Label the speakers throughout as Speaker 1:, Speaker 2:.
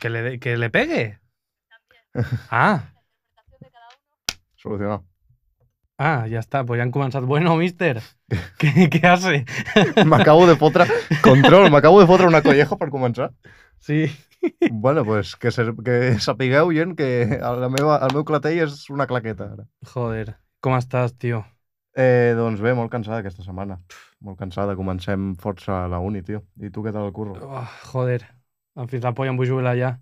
Speaker 1: Que le, que le pegue. Ah,
Speaker 2: Solucionado.
Speaker 1: ah, ja està, pues ja han començat. Bueno, mister, què, què hace?
Speaker 2: M'acabo de fotre... Control, m'acabo de fotre una colleja per començar.
Speaker 1: Sí,
Speaker 2: Bueno, pues que, se, que sapigueu, gent, que a la meva, el meu clatell és una claqueta, ara.
Speaker 1: joder, com estàs, tio?
Speaker 2: Eh, doncs bé, molt cansada aquesta setmana. Molt cansada, comencem força a la uni, tio. I tu què tal el curro?
Speaker 1: Oh, joder, fins la polla em vull jubilar ja.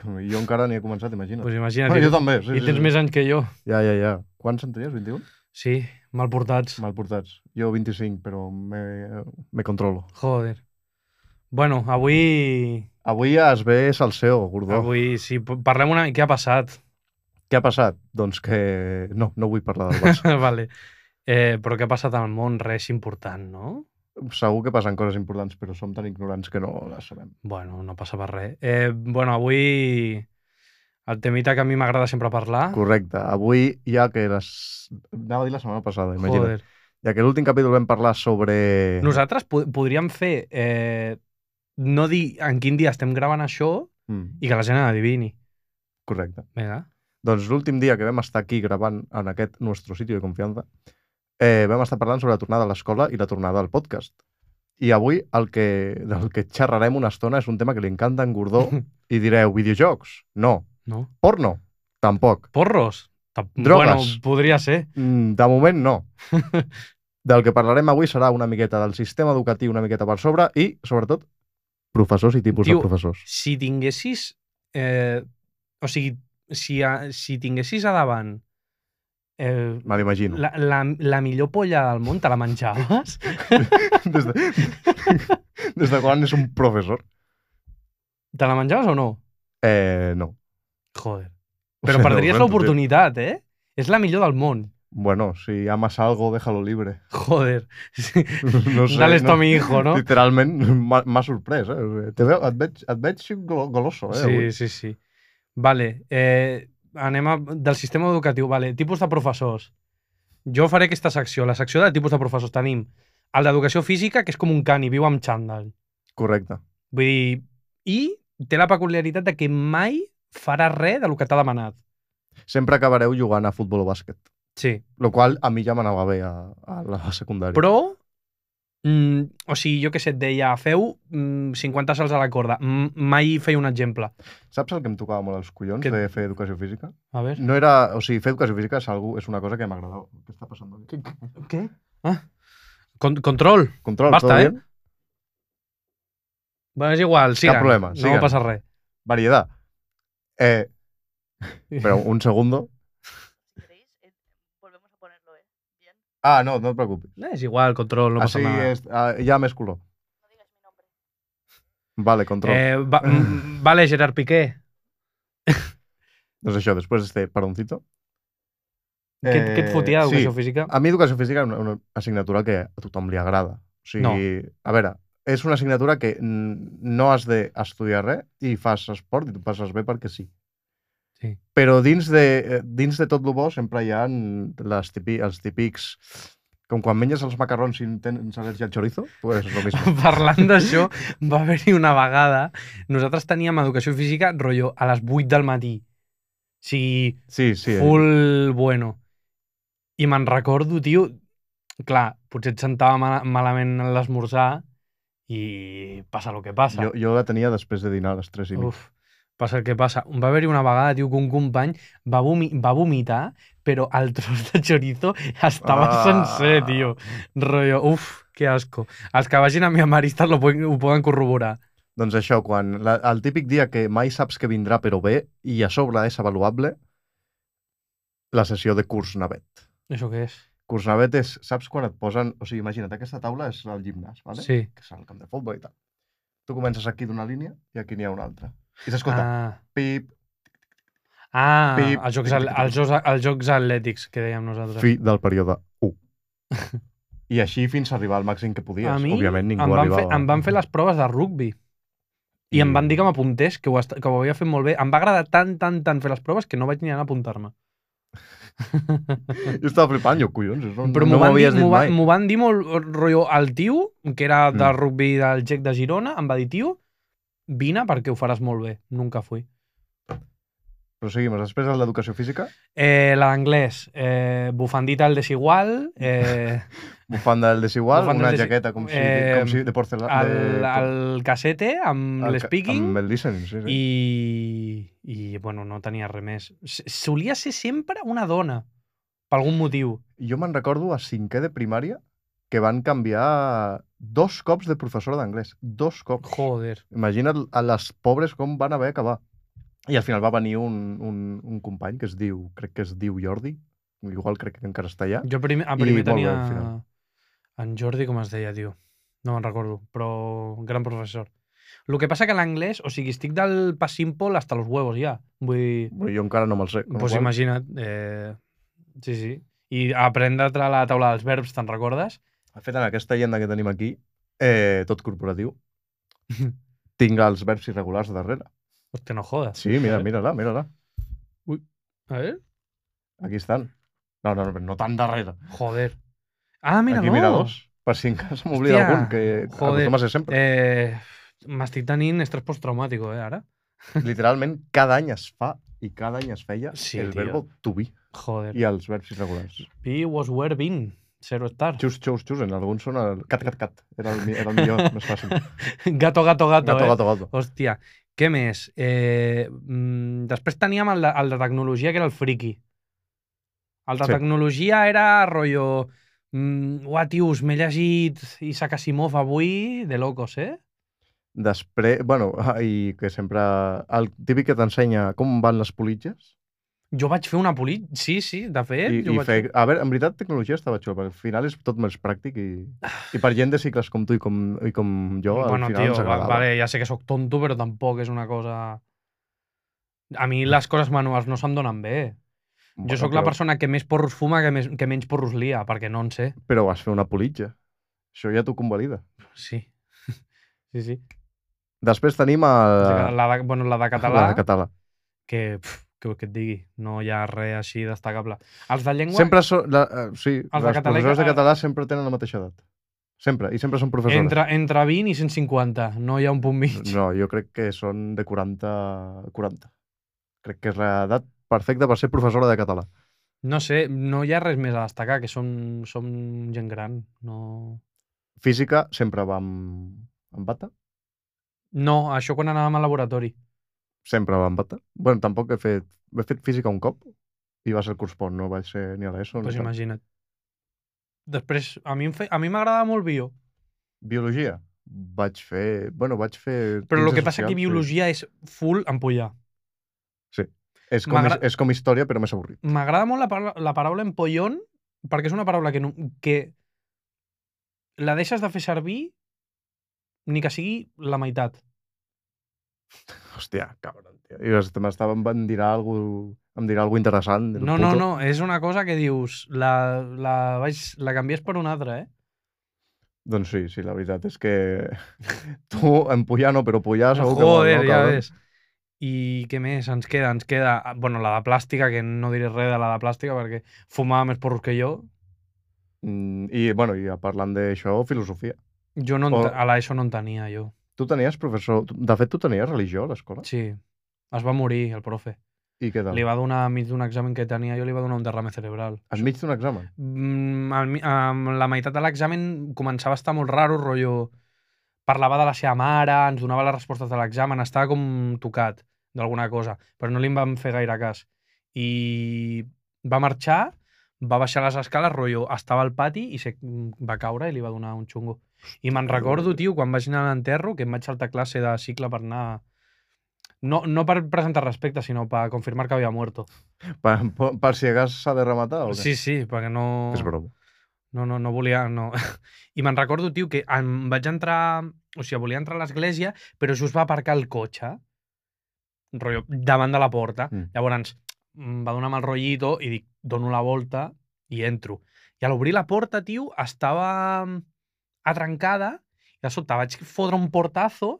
Speaker 2: Jo encara ni he començat, imagina't.
Speaker 1: Pues imagina't,
Speaker 2: bueno, jo
Speaker 1: bueno,
Speaker 2: també,
Speaker 1: i,
Speaker 2: sí,
Speaker 1: i
Speaker 2: sí,
Speaker 1: tens
Speaker 2: sí.
Speaker 1: més anys que jo.
Speaker 2: Ja, ja, ja. Quants en tenies, 21?
Speaker 1: Sí, mal portats.
Speaker 2: Mal portats. Jo 25, però me, me controlo.
Speaker 1: Joder. Bueno, avui...
Speaker 2: Avui es ve Salseo, gordó.
Speaker 1: Avui, sí, p- parlem una... Què ha passat?
Speaker 2: Què ha passat? Doncs que... No, no vull parlar del Barça.
Speaker 1: vale. Eh, però què ha passat al món? Res important, no?
Speaker 2: Segur que passen coses importants, però som tan ignorants que no les sabem.
Speaker 1: Bueno, no passa per res. Eh, bueno, avui... El temita que a mi m'agrada sempre parlar...
Speaker 2: Correcte. Avui, ja que les... Anava a dir la setmana passada, imagina't.
Speaker 1: Joder.
Speaker 2: Ja que l'últim capítol vam parlar sobre...
Speaker 1: Nosaltres po podríem fer... Eh, no dir en quin dia estem gravant això
Speaker 2: Mm,
Speaker 1: i que la gent adivini.
Speaker 2: correcte.
Speaker 1: Vinga.
Speaker 2: Doncs l'últim dia que vam estar aquí gravant en aquest nostre sitio de confiança, eh, vam estar parlant sobre la tornada a l'escola i la tornada al podcast. I avui el que, del que xerrarem una estona és un tema que li encanta a en Gordó i direu, videojocs? No.
Speaker 1: No.
Speaker 2: Porno? Tampoc.
Speaker 1: Porros? Tamp- Bueno,
Speaker 2: Drogues.
Speaker 1: podria ser.
Speaker 2: Mm, De moment, no. Del que parlarem avui serà una miqueta del sistema educatiu una miqueta per sobre i, sobretot, professors i tipus
Speaker 1: Tio,
Speaker 2: de professors.
Speaker 1: si tinguessis... Eh, o sigui, si, a, si tinguessis a davant eh,
Speaker 2: Me l'imagino.
Speaker 1: la, la, la millor polla del món, te la menjaves?
Speaker 2: Des, de... Des de quan és un professor?
Speaker 1: te la menjaves o no?
Speaker 2: Eh, no.
Speaker 1: Joder.
Speaker 2: O
Speaker 1: Però
Speaker 2: sea,
Speaker 1: perdries
Speaker 2: realment,
Speaker 1: l'oportunitat, eh? És la millor del món.
Speaker 2: Bueno, si amas algo, déjalo libre.
Speaker 1: Joder. Sí.
Speaker 2: No sé,
Speaker 1: Dale esto
Speaker 2: no,
Speaker 1: a mi hijo, no?
Speaker 2: Literalment m'ha m'ha sorprès, eh? O sigui, Te veu, et, veig, et veig golo- goloso, eh?
Speaker 1: Sí, sí, sí. Vale, eh, anem a, del sistema educatiu. Vale, tipus de professors. Jo faré aquesta secció. La secció de tipus de professors tenim el d'educació física, que és com un cani, viu amb xandall.
Speaker 2: Correcte.
Speaker 1: Vull dir, i té la peculiaritat de que mai farà res del que t'ha demanat.
Speaker 2: Sempre acabareu jugant a futbol o bàsquet.
Speaker 1: Sí.
Speaker 2: Lo qual a mi ja m'anava bé a, a la secundària.
Speaker 1: Però, mm, o sigui, jo què sé, et deia, feu mm, 50 salts a la corda. Mm, mai feia un exemple.
Speaker 2: Saps el que em tocava molt als collons
Speaker 1: Que-
Speaker 2: que... de fer educació física?
Speaker 1: A veure.
Speaker 2: No era... O sigui, fer educació física és, algo, és una cosa que m'agradava. Què està passant? aquí?
Speaker 1: Què? Ah. Con control.
Speaker 2: Control,
Speaker 1: Basta,
Speaker 2: todo
Speaker 1: eh?
Speaker 2: bien?
Speaker 1: Bueno, és igual, siga.
Speaker 2: problema,
Speaker 1: No
Speaker 2: sigan.
Speaker 1: passa res.
Speaker 2: Variedad. Eh, pero un segundo.
Speaker 3: si queréis, eh, volvemos a ponerlo, ¿eh? Bien.
Speaker 2: Ah, no, no et preocupis.
Speaker 1: Eh, És igual, control, no passa
Speaker 2: Així
Speaker 1: nada.
Speaker 2: és, ah, ja més color.
Speaker 3: No digas mi nombre.
Speaker 2: Vale, control.
Speaker 1: Eh, va, mm, vale, Gerard Piqué,
Speaker 2: Doncs això, després este paroncito.
Speaker 1: eh, què, què et fotia d'educació sí. física?
Speaker 2: A mi educació física és una, una assignatura que a tothom li agrada. O sigui,
Speaker 1: No.
Speaker 2: a veure, és una assignatura que n- no has d'estudiar res i fas esport i tu passes bé perquè sí.
Speaker 1: Sí.
Speaker 2: Però dins de, eh, dins de tot lo bo sempre hi ha les tipi, els típics... Com quan menges els macarrons i tens al·lèrgia al chorizo, pues és lo mismo.
Speaker 1: Parlant d'això, va haver-hi una vegada... Nosaltres teníem educació física, rotllo, a les 8 del matí. O sigui,
Speaker 2: Sí, sí. eh.
Speaker 1: full bueno. I me'n recordo, tio, clar, potser et sentava mal, malament en l'esmorzar i passa el que passa.
Speaker 2: Jo, jo la tenia després de dinar a les 3 i mitja.
Speaker 1: Uf, passa el que passa. Va haver-hi una vegada, tio, que un company va, vomi va vomitar, però el tros de chorizo estava
Speaker 2: Ah.
Speaker 1: ah. sencer, tio. Rollo, uf, que asco. Els que vagin a mi a Maristas lo poden, ho poden corroborar.
Speaker 2: Doncs això, quan la, el típic dia que mai saps que vindrà però bé i a sobre és avaluable, la sessió de curs navet.
Speaker 1: Això què és?
Speaker 2: Curs navet és, saps quan et posen... O sigui, imagina't, aquesta taula és el gimnàs, vale?
Speaker 1: Sí.
Speaker 2: que és el camp de futbol i tal. Tu comences aquí d'una línia i aquí n'hi ha una altra. I s'escolta, ah. pip,
Speaker 1: Ah, ah
Speaker 2: Pip.
Speaker 1: els, jocs, al- els, jocs, els jocs atlètics que dèiem nosaltres.
Speaker 2: fi del període 1. I així fins a arribar al màxim que podies.
Speaker 1: a mi
Speaker 2: Òbviament ningú
Speaker 1: em, van fer,
Speaker 2: arribava.
Speaker 1: em van fer les proves de rugby i
Speaker 2: Mm.
Speaker 1: em van dir que m'apuntés, que, ho est- que ho havia fet molt bé. Em va agradar tant, tant, tant fer les proves que no vaig ni anar a apuntar-me.
Speaker 2: Jo estava flipant, jo, collons, no,
Speaker 1: Però
Speaker 2: no
Speaker 1: m'ho van, dir-
Speaker 2: m'havies dit
Speaker 1: m'ho va-
Speaker 2: mai.
Speaker 1: m'ho van dir molt rotllo. El tio, que era
Speaker 2: Mm.
Speaker 1: del rugby del GEC de Girona, em va dir, tio, vine perquè ho faràs molt bé. Nunca fui.
Speaker 2: Proseguimos. Després de l'educació física,
Speaker 1: Eh, la d'anglès, eh, bufandita al desigual, eh,
Speaker 2: bufanda del desigual,
Speaker 1: Bufanda
Speaker 2: una
Speaker 1: del desi-
Speaker 2: jaqueta com si,
Speaker 1: eh,
Speaker 2: com si de porcelana...
Speaker 1: el, el casete amb l'espeaking
Speaker 2: Amb el listening, sí, sí.
Speaker 1: i, i, bueno, no tenia res més. S- Solia ser sempre una dona, per algun motiu.
Speaker 2: I... Jo me'n recordo a cinquè de primària que van canviar dos cops de professora d'anglès. Dos cops.
Speaker 1: Joder.
Speaker 2: Imagina't a les pobres com van haver acabar. I al final va venir un, un, un company que es diu, crec que es diu Jordi, igual crec que encara està allà,
Speaker 1: Jo primer, a
Speaker 2: I
Speaker 1: primer
Speaker 2: molt bé,
Speaker 1: tenia...
Speaker 2: al final.
Speaker 1: en Jordi, com es deia, tio? No me'n recordo, però gran professor. El que passa que l'anglès, o sigui, estic del pas simple hasta los huevos ja. Vull dir,
Speaker 2: però jo encara no me'l sé. con lo
Speaker 1: pues
Speaker 2: qual-
Speaker 1: imagina't. Eh... Sí, sí. I aprendre't la taula dels verbs, te'n recordes?
Speaker 2: De fet, en aquesta agenda que tenim aquí, eh, tot corporatiu, tinc els verbs irregulars darrere.
Speaker 1: Hòstia, no jodes.
Speaker 2: Sí, mira, mira-la, mira-la.
Speaker 1: A ver.
Speaker 2: Aquí estan. No, no, no, no tan darrere.
Speaker 1: Joder. Ah, mira,
Speaker 2: Aquí
Speaker 1: no.
Speaker 2: mira dos. Per si en cas m'oblida
Speaker 1: Hòstia,
Speaker 2: algun, que
Speaker 1: joder.
Speaker 2: acostuma a ser sempre.
Speaker 1: Eh, M'estic tenint estrès postraumàtic, eh, ara?
Speaker 2: Literalment, cada any es fa i cada any es feia
Speaker 1: Sí,
Speaker 2: el
Speaker 1: tio.
Speaker 2: verbo to be
Speaker 1: Joder.
Speaker 2: i els verbs irregulars.
Speaker 1: Be was where been. Zero star.
Speaker 2: Xus, xus, xus, en alguns són el cat, cat, cat. Era el, mi- era el millor, més fàcil.
Speaker 1: Gato, gato, gato,
Speaker 2: Gato,
Speaker 1: eh?
Speaker 2: gato, gato.
Speaker 1: Hòstia, què més? Eh, mm, després teníem el de, el de tecnologia, que era el friki. El de
Speaker 2: Sí.
Speaker 1: sí. tecnologia era rotllo... Mm, Ua, tios, m'he llegit Isaac Asimov avui, de locos, eh?
Speaker 2: Després, bueno, ah, i que sempre... El típic que t'ensenya com van les politges,
Speaker 1: Jo vaig fer una polit... Sí, sí, de fet.
Speaker 2: I,
Speaker 1: Eh? jo
Speaker 2: i
Speaker 1: vaig
Speaker 2: fer... A veure, en veritat, tecnologia estava xula, perquè al final és tot més pràctic i, i per gent de cicles com tu i com, i com jo,
Speaker 1: Ah.
Speaker 2: al
Speaker 1: bueno,
Speaker 2: final
Speaker 1: tio,
Speaker 2: ens
Speaker 1: va,
Speaker 2: agradava.
Speaker 1: vale, ja sé que sóc tonto, però tampoc és una cosa... A mi les coses manuals no se'm donen bé.
Speaker 2: Bueno,
Speaker 1: Jo sóc la
Speaker 2: però-
Speaker 1: persona que més porros fuma, que, més, que menys porros lia, perquè no en sé.
Speaker 2: Però vas fer una politja. Això ja t'ho convalida.
Speaker 1: Sí. Sí, sí.
Speaker 2: Després tenim el...
Speaker 1: La de, bueno, la de català,
Speaker 2: La de català.
Speaker 1: que, pf, que, que et digui, no hi ha res així destacable. Els de llengua,
Speaker 2: Sempre són... La, eh, sí,
Speaker 1: de
Speaker 2: els les
Speaker 1: català i
Speaker 2: professors de
Speaker 1: ca-
Speaker 2: català sempre tenen la mateixa edat. Sempre, i sempre són professores.
Speaker 1: entre, entre 20 i 150, no hi ha un punt mig.
Speaker 2: No, jo crec que són de 40... 40. Crec que és l'edat perfecta per ser professora de català.
Speaker 1: No sé, no hi ha res més a destacar, que som, som gent gran. No...
Speaker 2: Física sempre va amb, amb bata.
Speaker 1: no, això quan anàvem al laboratori.
Speaker 2: sempre va amb bata. Bueno, tampoc he fet... He fet física un cop i va ser el curs pont, no vaig ser ni a
Speaker 1: Doncs
Speaker 2: l'ESO. ni
Speaker 1: pues
Speaker 2: tal.
Speaker 1: imagina't. Després, a mi em fe... a mi m'agradava molt bio,
Speaker 2: Biologia? Vaig fer... Bueno, vaig fer...
Speaker 1: però el
Speaker 2: ciències
Speaker 1: que passa
Speaker 2: socials,
Speaker 1: que
Speaker 2: sí.
Speaker 1: biologia és full empollar.
Speaker 2: És com,
Speaker 1: m'agra-
Speaker 2: és com història, però més avorrit.
Speaker 1: M'agrada molt la, paraula, la paraula empollón perquè és una paraula que, no, que la deixes de fer servir ni que sigui la meitat.
Speaker 2: Hòstia, cabron, tio. I es- m'estava... Em dirà algú... Em dirà algú interessant. del
Speaker 1: No, no,
Speaker 2: puto.
Speaker 1: no, és una cosa que dius, la, la, vaig, la canvies per una altra, eh?
Speaker 2: Doncs sí, sí, la veritat és que... tu, empullar no, però pullar segur que...
Speaker 1: Joder,
Speaker 2: vol, no,
Speaker 1: ja
Speaker 2: cabron?
Speaker 1: ves. I què més? Ens queda, ens queda... ah, Bueno, la de plàstica, que no diré res de la de plàstica perquè fumava més porros que jo.
Speaker 2: Mm, I, bueno, i parlant d'això, filosofia.
Speaker 1: Jo no en,
Speaker 2: O-
Speaker 1: te- a l'ESO no en tenia, jo.
Speaker 2: Tu tenies professor... De fet, tu tenies religió a l'escola?
Speaker 1: Sí. Es va morir, el profe.
Speaker 2: I què tal?
Speaker 1: Li va donar, enmig d'un examen que tenia, jo li va donar un derrame cerebral.
Speaker 2: Enmig d'un examen?
Speaker 1: Mm, al mi- amb la meitat de l'examen començava a estar molt raro, rotllo... Parlava de la seva mare, ens donava les respostes de l'examen, estava com tocat d'alguna cosa, però no li en van fer gaire cas. I va marxar, va baixar les escales, rotllo, estava al pati i se mm, va caure i li va donar un xungo. I me'n
Speaker 2: Hòstia,
Speaker 1: recordo,
Speaker 2: Déu.
Speaker 1: tio, quan vaig anar a l'enterro, que em vaig saltar classe de cicle per anar... No, no per presentar respecte, sinó per confirmar que havia muerto.
Speaker 2: Per, per, per si hagués s'ha de rematar o què?
Speaker 1: Sí, sí, perquè no...
Speaker 2: És broma.
Speaker 1: No, no, no volia... No. I me'n recordo, tio, que em vaig entrar... O sigui, volia entrar a l'església, però just va aparcar el cotxe rotllo, davant de la porta.
Speaker 2: Mm.
Speaker 1: Mm. Llavors, em va donar mal rotllito i dic, dono la volta i entro. I a l'obrir la porta, tio, estava mm, atrancada i de sobte vaig fotre un portazo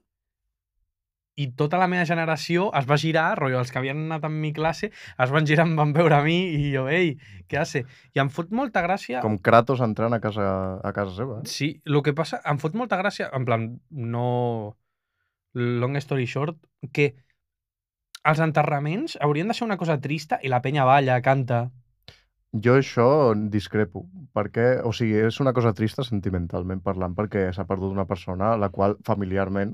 Speaker 1: i tota la meva generació es va girar, rotllo, els que havien anat amb mi classe es van girar, em van veure a mi i jo, ei, què hace? I em fot molta gràcia...
Speaker 2: Com Kratos entrant a casa, a casa seva. eh?
Speaker 1: Sí, el que passa, em fot molta gràcia, en plan, no... long story short, que els enterraments haurien de ser una cosa trista i la penya balla, canta.
Speaker 2: Jo això en discrepo, perquè, o sigui, és una cosa trista sentimentalment parlant, perquè s'ha perdut una persona a la qual familiarment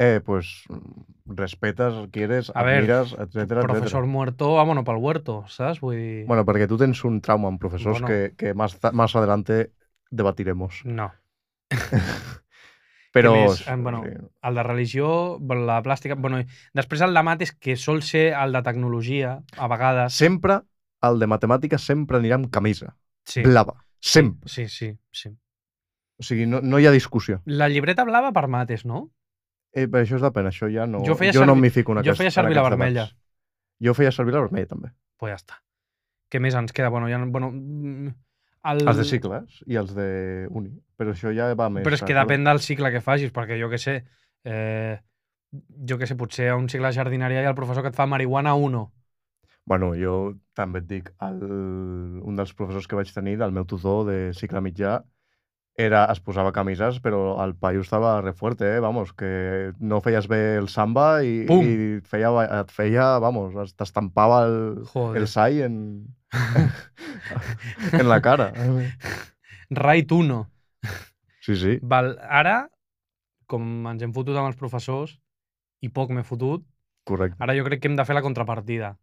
Speaker 2: eh, pues, mm, respetes, quieres,
Speaker 1: A ver, eh,
Speaker 2: admires, etcétera,
Speaker 1: Professor Muerto, vámonos pel huerto, saps? Vull dir...
Speaker 2: Bueno, perquè tu tens un trauma amb professors
Speaker 1: Bueno.
Speaker 2: que, que más, ta- más adelante debatiremos.
Speaker 1: No.
Speaker 2: Però...
Speaker 1: més?
Speaker 2: sí,
Speaker 1: Eh, bueno,
Speaker 2: sí.
Speaker 1: El de religió, la plàstica... Bueno, i després el de mates, que sol ser el de tecnologia, a vegades.
Speaker 2: Sempre, el de matemàtiques sempre anirà amb camisa,
Speaker 1: Sí,
Speaker 2: blava, sempre.
Speaker 1: sí, sí, sí.
Speaker 2: O sigui, no, no hi ha discussió.
Speaker 1: La llibreta blava per mates, no?
Speaker 2: Eh, però això és depèn, això ja no...
Speaker 1: Jo feia
Speaker 2: jo no
Speaker 1: servir-
Speaker 2: m'hi fico en
Speaker 1: jo
Speaker 2: aquest,
Speaker 1: feia
Speaker 2: en
Speaker 1: servir la
Speaker 2: aquests
Speaker 1: vermella.
Speaker 2: debats. Jo feia servir la vermella, també.
Speaker 1: Pues ja està. Què més ens queda? Bueno, ja, no- bueno, mm, el...
Speaker 2: Els de cicles i els de uni. Però això ja va més...
Speaker 1: Però és que
Speaker 2: saps?
Speaker 1: depèn del cicle que facis, perquè jo que sé, eh, jo que sé, potser a un cicle de jardineria hi ha el professor que et fa marihuana 1.
Speaker 2: Bueno, jo també et dic, el... un dels professors que vaig tenir, del meu tutor de cicle mitjà, era, es posava camises, però el paio estava re fuerte, eh? vamos, que no feies bé el samba i,
Speaker 1: Pum!
Speaker 2: i et feia, ba- et feia, vamos, es- t'estampava el,
Speaker 1: Joder.
Speaker 2: el sai en, en la cara.
Speaker 1: Right 1.
Speaker 2: Sí, sí.
Speaker 1: Val, ara, com ens hem fotut amb els professors, i poc m'he fotut,
Speaker 2: Correcte.
Speaker 1: ara jo crec que hem de fer la contrapartida.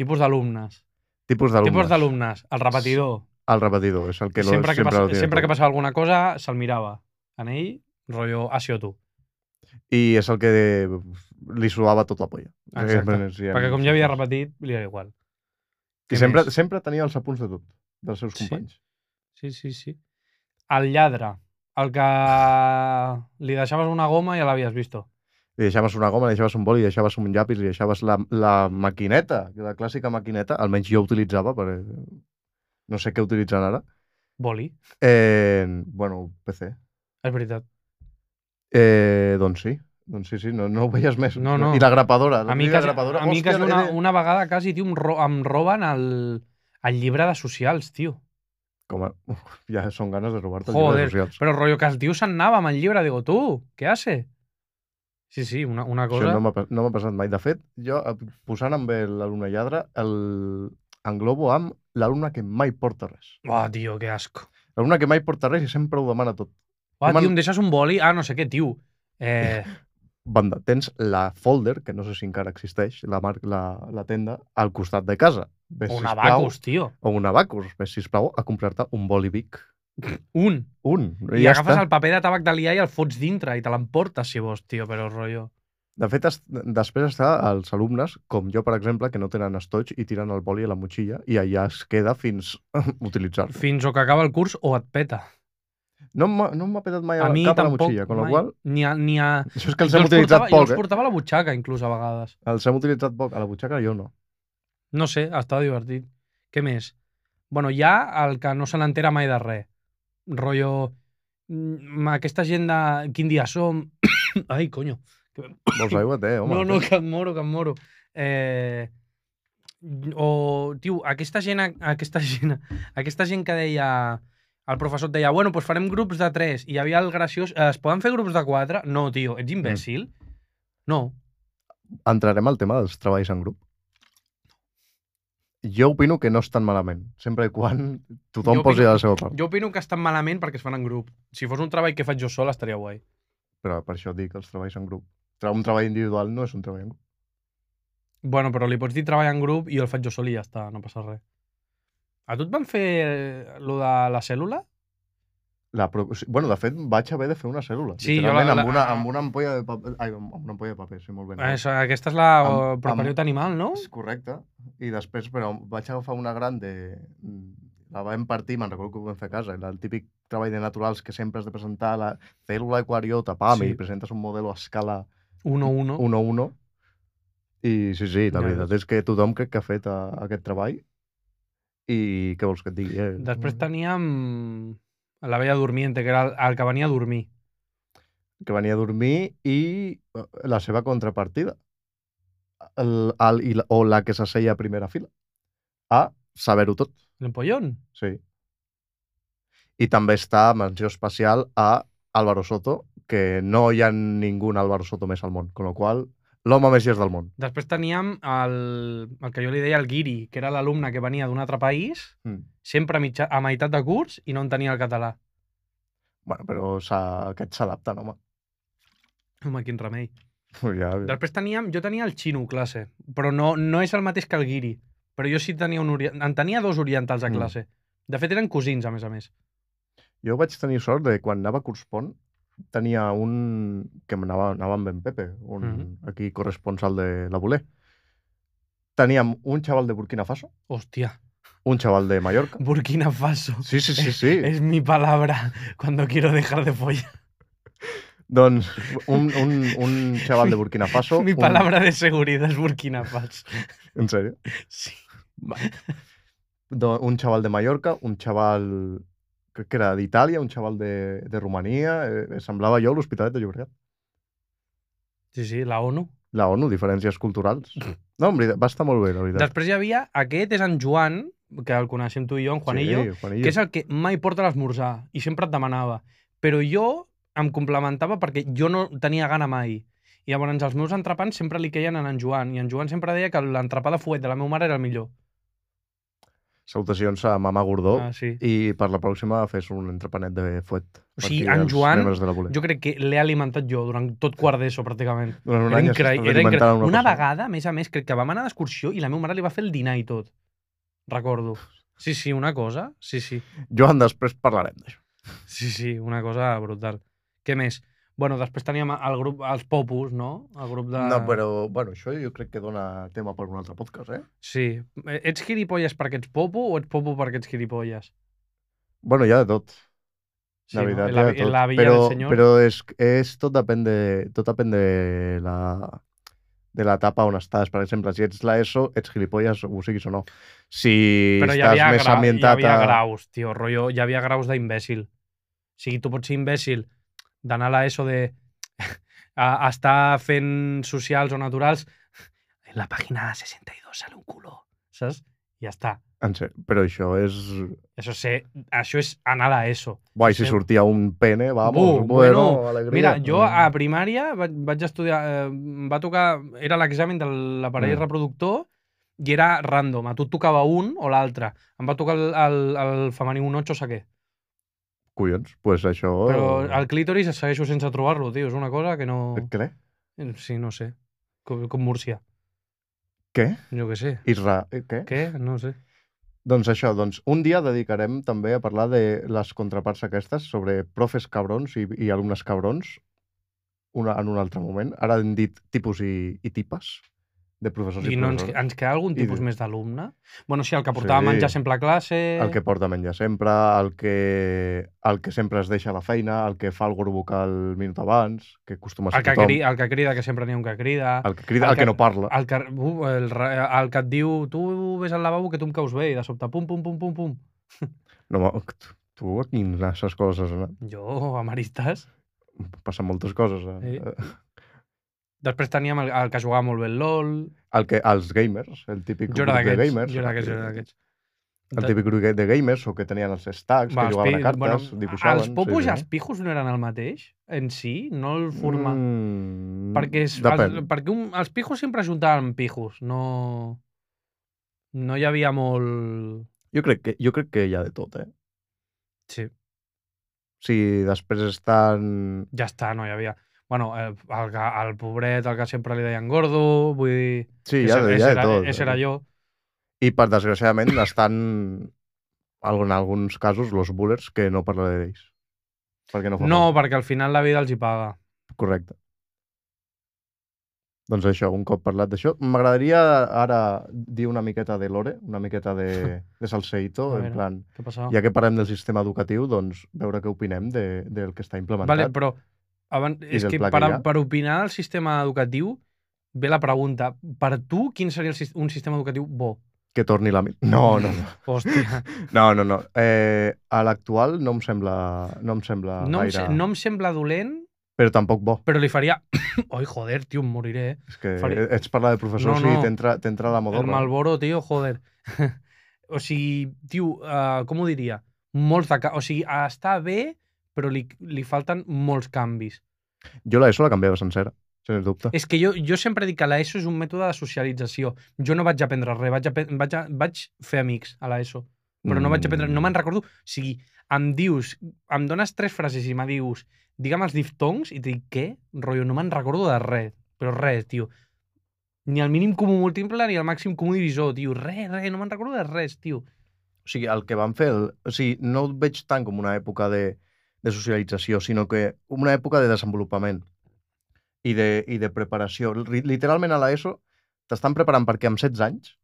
Speaker 1: Tipus d'alumnes.
Speaker 2: Tipus d'alumnes.
Speaker 1: Tipus d'alumnes. El repetidor.
Speaker 2: El repetidor, és el que lo-
Speaker 1: sempre, que,
Speaker 2: lo
Speaker 1: passa,
Speaker 2: tiene
Speaker 1: sempre que
Speaker 2: todo.
Speaker 1: passava alguna cosa, se'l mirava. En ell, rotllo, ha sido tu.
Speaker 2: I és el que li suava tot la polla.
Speaker 1: Exacte.
Speaker 2: Eh, sí,
Speaker 1: Perquè com ja havia repetit, li era igual.
Speaker 2: I
Speaker 1: Què
Speaker 2: sempre,
Speaker 1: més?
Speaker 2: sempre tenia els apunts de tot, dels seus
Speaker 1: Sí?
Speaker 2: companys.
Speaker 1: Sí, sí, sí. El lladre. El que li deixaves una goma i ja l'havies visto.
Speaker 2: Li deixaves una goma, li deixaves un boli, li deixaves un llapis, li deixaves la, la maquineta, la clàssica maquineta, almenys jo utilitzava, perquè no sé què utilitzen ara.
Speaker 1: Boli.
Speaker 2: Eh, bueno, PC.
Speaker 1: És veritat.
Speaker 2: Eh, doncs sí, doncs sí, sí, no, no ho veies més.
Speaker 1: No, no.
Speaker 2: I la grapadora.
Speaker 1: A mi,
Speaker 2: la
Speaker 1: quasi,
Speaker 2: grapadora.
Speaker 1: a mi
Speaker 2: Hòstia,
Speaker 1: quasi una,
Speaker 2: eh,
Speaker 1: una vegada quasi, tio, em, ro em roben el, el llibre de socials, tio.
Speaker 2: Com a... Uf, ja són ganes de robar-te els
Speaker 1: Joder,
Speaker 2: llibres socials.
Speaker 1: però rotllo que el tio se'n anava amb el llibre. Digo, tu, què hace? Sí, sí, una, una cosa...
Speaker 2: Això no m'ha pas- no m'ha passat mai. De fet, jo, eh, posant amb el- l'alumne lladre, el... englobo amb l'alumne que mai porta res.
Speaker 1: Buah, tio, que asco.
Speaker 2: L'alumne que mai porta res i sempre ho demana tot.
Speaker 1: Buah,
Speaker 2: Jo me'n-
Speaker 1: tio, em deixes un boli? Ah, no sé què, tio. Eh,
Speaker 2: Banda, tens la folder, que no sé si encara existeix, la, mar... la, la tenda, al costat de casa. Ves,
Speaker 1: o un
Speaker 2: sisplau-
Speaker 1: abacus, tio.
Speaker 2: O un abacus. Ves, sisplau, a comprar-te un bolivic.
Speaker 1: Un.
Speaker 2: Un.
Speaker 1: I ja agafes està. el paper de tabac de liar i el fots dintre i te l'emportes, si vols, tio, però rotllo...
Speaker 2: De fet, es... després està els alumnes, com jo, per exemple, que no tenen estoig i tiren el boli a la motxilla i allà es queda fins utilitzar-lo.
Speaker 1: Fins o que acaba el curs o et peta.
Speaker 2: No m'ha no m'ha petat mai
Speaker 1: A
Speaker 2: a
Speaker 1: mi
Speaker 2: cap a la
Speaker 1: tampoc...
Speaker 2: motxilla, amb la
Speaker 1: mai.
Speaker 2: qual
Speaker 1: Ni a, ni a...
Speaker 2: Això és que els
Speaker 1: Jo
Speaker 2: hem utilitzat
Speaker 1: portava, jo
Speaker 2: poc,
Speaker 1: els
Speaker 2: eh?
Speaker 1: portava a la butxaca, inclús, a vegades.
Speaker 2: Els hem utilitzat poc. A la butxaca jo no.
Speaker 1: No sé, estava divertit. Què més? Bueno, hi ha el que no se n'entera mai de res. Rotllo... mm, Aquesta gent de... Quin dia som? Ai, coño.
Speaker 2: Vols aigua? Té, home.
Speaker 1: no, no, que em moro, que em moro. Eh, o, tio, aquesta gent, aquesta gent, aquesta gent que deia... El professor et deia, bueno, doncs farem grups de 3. I hi havia el graciós, "Eh, es poden fer grups de 4? No, tio, ets imbècil?
Speaker 2: Mm.
Speaker 1: No.
Speaker 2: Entrarem al tema dels treballs en grup. Jo opino que no estan malament, sempre i quan tothom
Speaker 1: Jo opino-
Speaker 2: posi de la seva part.
Speaker 1: Jo opino que estan malament perquè es fan en grup. Si fos un treball que faig jo sol, estaria guai.
Speaker 2: Però per això dic els treballs en grup. Tra- Un treball individual no és un treball en grup.
Speaker 1: Bueno, però li pots dir treball en grup i jo el faig jo sol i ja està, no passa res. A tu et van fer eh, lo de la cèl·lula?
Speaker 2: La pro... o sigui, Bueno, de fet, vaig haver de fer una cèl·lula.
Speaker 1: Sí, jo la-
Speaker 2: literalment,
Speaker 1: la-
Speaker 2: Amb una, amb una ampolla de paper... Ai, amb amb una ampolla de paper, sí, molt ben.
Speaker 1: Eh, aquesta és la
Speaker 2: Amb-
Speaker 1: eh, procariota animal, no?
Speaker 2: És correcte. I després, però vaig agafar una gran de... mm, La vam partir, me'n recordo que ho vam fer a casa, era el típic treball de naturals que sempre has de presentar la cèl·lula eucariota, pam,
Speaker 1: Sí.
Speaker 2: sí. i presentes un modelo a escala
Speaker 1: 1-1.
Speaker 2: 1-1. I sí, sí, la
Speaker 1: Ja
Speaker 2: veritat és que tothom crec que ha fet eh, aquest treball. I què vols que et digui? Eh?
Speaker 1: Després teníem la vella dormiente, que era el, el que venia a dormir.
Speaker 2: Que venia a dormir i eh, la seva contrapartida. El, el, i la, o la que s'asseia a primera fila. A saber-ho tot.
Speaker 1: L'empollón.
Speaker 2: Sí. I també està menció especial a Álvaro Soto, que no hi ha ningú Álvaro Soto més al món, amb la qual cosa, l'home més llest del món.
Speaker 1: Després teníem el, el que jo li deia el Guiri, que era l'alumne que venia d'un altre país,
Speaker 2: Mm.
Speaker 1: sempre a, mitja, a meitat de curs i no en tenia el català.
Speaker 2: Bueno, però s'ha- aquest s'adapta, home.
Speaker 1: Home, quin remei.
Speaker 2: Ja, ja.
Speaker 1: Després teníem, jo tenia el xino a classe, però no, no és el mateix que el guiri. Però jo sí tenia un orient... en tenia dos orientals a
Speaker 2: Mm.
Speaker 1: classe. De fet, eren cosins, a més a més.
Speaker 2: Jo vaig tenir sort de quan anava a Curs Pont, tenia un que anava, anava amb en Pepe, un,
Speaker 1: Mhm.
Speaker 2: aquí corresponsal de la Voler. Teníem un xaval de Burkina Faso,
Speaker 1: Hòstia,
Speaker 2: un xaval de Mallorca.
Speaker 1: Burkina Faso.
Speaker 2: Sí, sí, sí, sí.
Speaker 1: És mi palabra cuando quiero dejar de follar.
Speaker 2: doncs un, un, un xaval de Burkina Faso...
Speaker 1: mi
Speaker 2: un-
Speaker 1: palabra de seguridad es Burkina Faso.
Speaker 2: En sèrio?
Speaker 1: Sí.
Speaker 2: Do- un xaval de Mallorca, un xaval crec que era d'Itàlia, un xaval de, de Romania, eh, semblava jo a l'Hospitalet de Llobregat.
Speaker 1: Sí, sí, la ONU.
Speaker 2: La ONU, diferències culturals.
Speaker 1: Mm.
Speaker 2: No, en veritat, va estar molt bé, la veritat.
Speaker 1: Després hi havia, aquest és en Joan, que el coneixem tu i jo, en Juanillo,
Speaker 2: Sí, Juanillo.
Speaker 1: que és el que mai porta l'esmorzar i sempre et demanava. Però jo em complementava perquè jo no tenia gana mai. I llavors els meus entrepans sempre li queien en en Joan i en Joan sempre deia que l'entrepà de fuet de la meva mare era el millor.
Speaker 2: Salutacions a Mama Gordó.
Speaker 1: Ah, sí.
Speaker 2: I per la pròxima fes un entrepanet de fuet. per
Speaker 1: sigui,
Speaker 2: aquí
Speaker 1: en
Speaker 2: als
Speaker 1: Joan,
Speaker 2: membres de la Voler.
Speaker 1: Jo crec que l'he alimentat jo durant tot quart d'ESO, pràcticament.
Speaker 2: Durant un
Speaker 1: Era
Speaker 2: any has
Speaker 1: increï-
Speaker 2: estat
Speaker 1: era increïble.
Speaker 2: alimentant una
Speaker 1: Una,
Speaker 2: persona.
Speaker 1: vegada, a més a més, crec que vam anar d'excursió i la meva mare li va fer el dinar i tot. Recordo. Sí, sí, una cosa. Sí, sí.
Speaker 2: Joan, després parlarem d'això.
Speaker 1: Sí, sí, una cosa brutal. Què més? Bueno, després teníem el grup, els Popus, no? El grup de...
Speaker 2: No, però, bueno, això jo crec que dona tema per un altre podcast, eh?
Speaker 1: Sí. Eh, Ets gilipolles perquè ets popo o ets popo perquè ets gilipolles?
Speaker 2: Bueno, ja de tot.
Speaker 1: Sí,
Speaker 2: la veritat,
Speaker 1: no? En la,
Speaker 2: ja de tot.
Speaker 1: en la villa
Speaker 2: però,
Speaker 1: del senyor.
Speaker 2: Però és, és, tot depèn de, tot depèn de la de l'etapa on estàs. Per exemple, si ets l'ESO, ets gilipolles, ho siguis o no. Si
Speaker 1: Però hi
Speaker 2: estàs
Speaker 1: havia,
Speaker 2: més
Speaker 1: gra-
Speaker 2: ambientat
Speaker 1: hi havia
Speaker 2: a...
Speaker 1: graus, tio, rotllo, hi havia graus d'imbècil. O sigui, tu pots ser imbècil d'anar a l'ESO de a, a estar fent socials o naturals en la pàgina 62 sale un culo, saps? I ja està.
Speaker 2: En ser, però això és...
Speaker 1: Això, és ser, això és anar a l'ESO.
Speaker 2: Guai, si
Speaker 1: Sí.
Speaker 2: sortia un pene, vamos,
Speaker 1: Bu,
Speaker 2: bueno,
Speaker 1: bueno,
Speaker 2: alegria.
Speaker 1: Mira, jo a primària vaig, vaig estudiar... Eh, em va tocar... Era l'examen de l'aparell
Speaker 2: Mm.
Speaker 1: reproductor i era random. A tu et tocava un o l'altre. Em va tocar el, el, el femení un 8 saquer.
Speaker 2: Collons, pues això... eh,
Speaker 1: Però el clítoris es segueixo sense trobar-lo, tio. És una cosa que no... Eh,
Speaker 2: Què?
Speaker 1: Sí, no sé. Com, com Múrcia.
Speaker 2: Què?
Speaker 1: Jo què sé.
Speaker 2: Isra... eh, Què?
Speaker 1: Què? No sé.
Speaker 2: Doncs això, doncs un dia dedicarem també a parlar de les contraparts aquestes sobre profes cabrons i, i alumnes cabrons una, en un altre moment. Ara hem dit tipus i, i tipes de professors i,
Speaker 1: I no ens,
Speaker 2: professores.
Speaker 1: ens queda algun
Speaker 2: I
Speaker 1: tipus
Speaker 2: de-
Speaker 1: més d'alumne? Bueno, sí, el que portava
Speaker 2: Sí.
Speaker 1: sí. menjar sempre a classe...
Speaker 2: El que porta menjar sempre, el que, el que sempre es deixa a la feina, el que fa el grup vocal minut abans, que acostuma a ser
Speaker 1: El que,
Speaker 2: tothom,
Speaker 1: crida, el que crida, que sempre n'hi ha un que crida...
Speaker 2: el que crida,
Speaker 1: el
Speaker 2: el que
Speaker 1: que-
Speaker 2: no parla.
Speaker 1: El que, uh, el, ra- el que et diu, tu ves al lavabo que tu em caus bé, i de sobte, pum, pum, pum, pum, pum.
Speaker 2: No, ma- tu a quines coses... eh?
Speaker 1: Jo, amaristes.
Speaker 2: Passen moltes coses. Eh?
Speaker 1: Sí. Després teníem el, el que jugava molt bé el LOL.
Speaker 2: El que, els gamers, el típic
Speaker 1: Jo era
Speaker 2: grup de
Speaker 1: d'aquests.
Speaker 2: gamers.
Speaker 1: Jo era d'aquests,
Speaker 2: el
Speaker 1: jo
Speaker 2: que-
Speaker 1: era d'aquests.
Speaker 2: El típic grup de gamers o que tenien els stacks,
Speaker 1: Va,
Speaker 2: que
Speaker 1: els
Speaker 2: jugaven
Speaker 1: pi-
Speaker 2: a cartes, dibuixaven...
Speaker 1: Els popos i els pijos no eren el mateix, en si, no el forma. Mm,
Speaker 2: Mm,
Speaker 1: perquè és,
Speaker 2: Depèn.
Speaker 1: els, perquè un, els pijos sempre juntaven pijos, no... No hi havia molt...
Speaker 2: Jo, crec que, jo crec que hi ha de tot, eh?
Speaker 1: Sí.
Speaker 2: Si després estan...
Speaker 1: ja està, no hi havia... Bueno, eh, el, que- el pobret, el que sempre li deien gordo, vull dir...
Speaker 2: Sí,
Speaker 1: que
Speaker 2: hi ha,
Speaker 1: ese-
Speaker 2: de- hi
Speaker 1: ese
Speaker 2: ha de
Speaker 1: era,
Speaker 2: tot. eh?
Speaker 1: Ese era jo.
Speaker 2: I per desgraciadament estan, algun- en alguns casos, los bullers que no parlaré d'ells. Perquè no fa
Speaker 1: No,
Speaker 2: falta.
Speaker 1: perquè al final la vida els hi paga.
Speaker 2: Correcte. Doncs això, un cop parlat d'això, m'agradaria ara dir una miqueta de lore, una miqueta de, de salseïto,
Speaker 1: A
Speaker 2: en
Speaker 1: veure.
Speaker 2: plan...
Speaker 1: Què passava?
Speaker 2: Ja que parlem del sistema educatiu, doncs veure què opinem de, del que està implementat.
Speaker 1: Vale, però abans,
Speaker 2: I
Speaker 1: és
Speaker 2: del
Speaker 1: que
Speaker 2: pla que
Speaker 1: per,
Speaker 2: hi ha.
Speaker 1: per opinar del sistema educatiu ve la pregunta. Per tu, quin seria el, sis- un sistema educatiu bo?
Speaker 2: Que torni la... mi- No, no, no.
Speaker 1: Hòstia,
Speaker 2: No, no, no. Eh, a l'actual no em sembla, no em sembla
Speaker 1: no, em,
Speaker 2: Ah, gaire...
Speaker 1: se- no em sembla dolent,
Speaker 2: Però tampoc bo.
Speaker 1: però li faria... Oi, joder, tio, em moriré, eh?
Speaker 2: És que
Speaker 1: Faré-
Speaker 2: ets parlar de professors
Speaker 1: No, no.
Speaker 2: i t'entra t'entra la
Speaker 1: El
Speaker 2: modorra.
Speaker 1: Malboro, tio, joder. o sigui, tio, uh, com ho diria? Molts de... ca- O sigui, està bé, però li, li falten molts canvis.
Speaker 2: Jo l'ESO la canviava sencera, sens dubte.
Speaker 1: És que jo, jo sempre dic que l'ESO és un mètode de socialització. Jo no vaig aprendre res, vaig, apre- vaig, a- vaig fer amics a l'ESO, però no vaig aprendre,
Speaker 2: Mm.
Speaker 1: no me'n recordo. O sigui, em dius, em dones tres frases i me dius, digue'm els diftongs, i et dic, què? Rollo, no me'n recordo de res, però res, tio. Ni el mínim comú múltiple ni el màxim comú divisor, tio. Res, res, no me'n recordo de res, tio.
Speaker 2: O sigui, el que van fer... El... O sigui, no ho veig tant com una època de, de socialització, sinó que una època de desenvolupament i de, i de preparació. Ri- Literalment a l'ESO t'estan preparant perquè amb 16 anys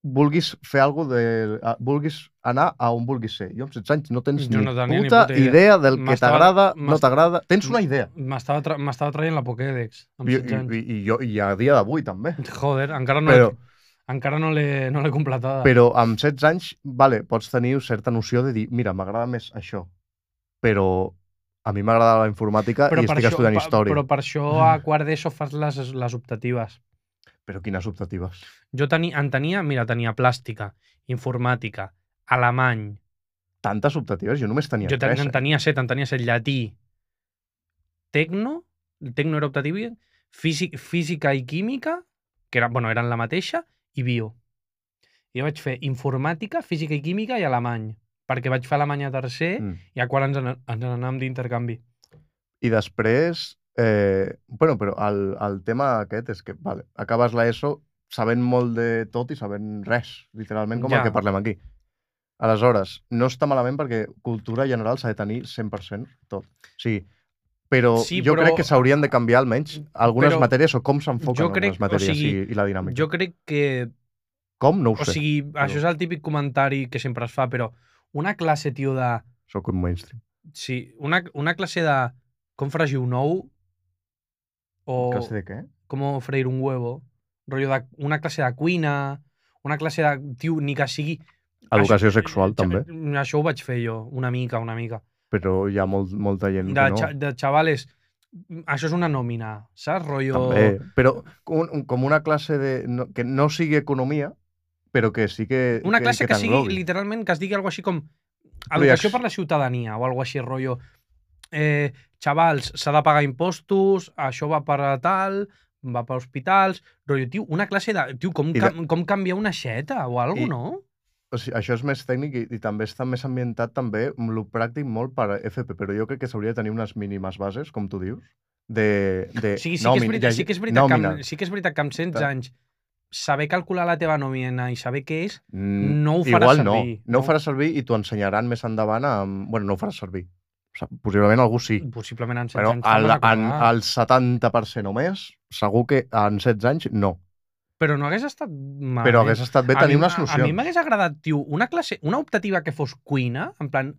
Speaker 2: vulguis fer algo de... a- vulguis anar a on vulguis ser. Jo amb 16 anys no tens
Speaker 1: Jo
Speaker 2: ni,
Speaker 1: no
Speaker 2: puta
Speaker 1: tenia ni puta
Speaker 2: idea.
Speaker 1: idea.
Speaker 2: del que
Speaker 1: M'estava-
Speaker 2: t'agrada, no
Speaker 1: m'est-
Speaker 2: t'agrada. Tens una idea.
Speaker 1: M'estava tra m'estava traient la Pokédex, amb
Speaker 2: I,
Speaker 1: 16 anys.
Speaker 2: i, i, jo, i a dia d'avui també.
Speaker 1: Joder, encara no
Speaker 2: Però,
Speaker 1: l'he encara no l'he no l'he completada.
Speaker 2: però amb 16 anys, vale, pots tenir certa noció de dir, mira, m'agrada més això, però a mi m'agrada la informàtica Ah, i estic estudiant
Speaker 1: pa-
Speaker 2: història. Mm.
Speaker 1: Però per això a quart d'ESO fas les, les optatives.
Speaker 2: Però... quines optatives.
Speaker 1: Jo teni, en tenia, mira, tenia plàstica, informàtica, alemany,
Speaker 2: Tantes optatives? Jo només tenia
Speaker 1: jo ten,
Speaker 2: tres. eh?
Speaker 1: en tenia set, en tenia set, llatí, tecno, el tecno era optativa, físic, física i química, que era, bueno, eren la mateixa, i bio. Jo vaig fer informàtica, física i química i alemany, perquè vaig fer alemany a tercer
Speaker 2: Mm.
Speaker 1: i a quart ens, en, ens n'anàvem d'intercanvi.
Speaker 2: I després... Eh, bueno, però el, el tema aquest és que, vale, acabes l'ESO sabent molt de tot i sabent res, literalment com
Speaker 1: Ja.
Speaker 2: el que parlem aquí. Aleshores, no està malament perquè cultura general s'ha de tenir 100% tot. Sí, però
Speaker 1: Sí,
Speaker 2: jo
Speaker 1: però-
Speaker 2: crec que s'haurien de canviar almenys algunes
Speaker 1: però-
Speaker 2: matèries o com s'enfoquen
Speaker 1: jo
Speaker 2: algunes
Speaker 1: crec- o
Speaker 2: matèries
Speaker 1: sigui,
Speaker 2: i, i la dinàmica.
Speaker 1: Jo crec que
Speaker 2: Com? No ho
Speaker 1: O
Speaker 2: sé.
Speaker 1: sigui, això és el típic comentari que sempre es fa, però una classe, tio, de...
Speaker 2: Sóc un mainstream.
Speaker 1: Sí, una, una classe de com fregir un ou o
Speaker 2: O... Classe de què?
Speaker 1: com freir un huevo, rotllo de una classe de cuina, una classe de... Tio, ni que sigui...
Speaker 2: Educació
Speaker 1: eh,
Speaker 2: sexual, també.
Speaker 1: Això ho vaig fer jo, una mica, una mica.
Speaker 2: Però hi ha molt, molta gent
Speaker 1: De,
Speaker 2: que no.
Speaker 1: xa, de xavales, això és una nòmina, saps? Rotllo...
Speaker 2: També, però un, un, com una classe de, no, que no sigui economia, però que sí que...
Speaker 1: Una classe que, sigui
Speaker 2: t'englobi.
Speaker 1: literalment que es digui alguna així com
Speaker 2: hi ha
Speaker 1: educació
Speaker 2: ex-
Speaker 1: per la ciutadania o alguna així, rotllo eh, xavals, s'ha de pagar impostos, això va per a tal, va per a hospitals, rotllo, tio, una classe de... Tio, com,
Speaker 2: I de-
Speaker 1: de... com canviar una xeta o alguna
Speaker 2: I-
Speaker 1: cosa, no?
Speaker 2: O sigui, això és més tècnic i, i també està més ambientat també amb lo pràctic molt per a FP, però jo crec que s'hauria de tenir unes mínimes bases, com tu dius, de, de
Speaker 1: O sigui, sí, que
Speaker 2: nòmina,
Speaker 1: és veritat, sí,
Speaker 2: llegir-
Speaker 1: que és veritat que
Speaker 2: nòmina.
Speaker 1: amb, sí que és veritat que amb 16
Speaker 2: Clar.
Speaker 1: anys saber calcular la teva nòmina i saber què és,
Speaker 2: Mm,
Speaker 1: no ho farà
Speaker 2: Igual no,
Speaker 1: servir.
Speaker 2: no ho farà servir i t'ho ensenyaran més endavant amb... Bueno, no ho farà servir. O sigui, possiblement algú sí,
Speaker 1: Possiblement en 16
Speaker 2: però
Speaker 1: anys te'n
Speaker 2: el,
Speaker 1: vas
Speaker 2: en,
Speaker 1: acordar.
Speaker 2: el 70% o més, segur que en 16 anys no.
Speaker 1: Però no hagués estat malament.
Speaker 2: Però hagués estat bé
Speaker 1: Ah, eh. A
Speaker 2: tenir
Speaker 1: mi-
Speaker 2: unes
Speaker 1: a-
Speaker 2: nocions.
Speaker 1: A mi m'hagués agradat, tio, una classe, una optativa que fos cuina, en plan,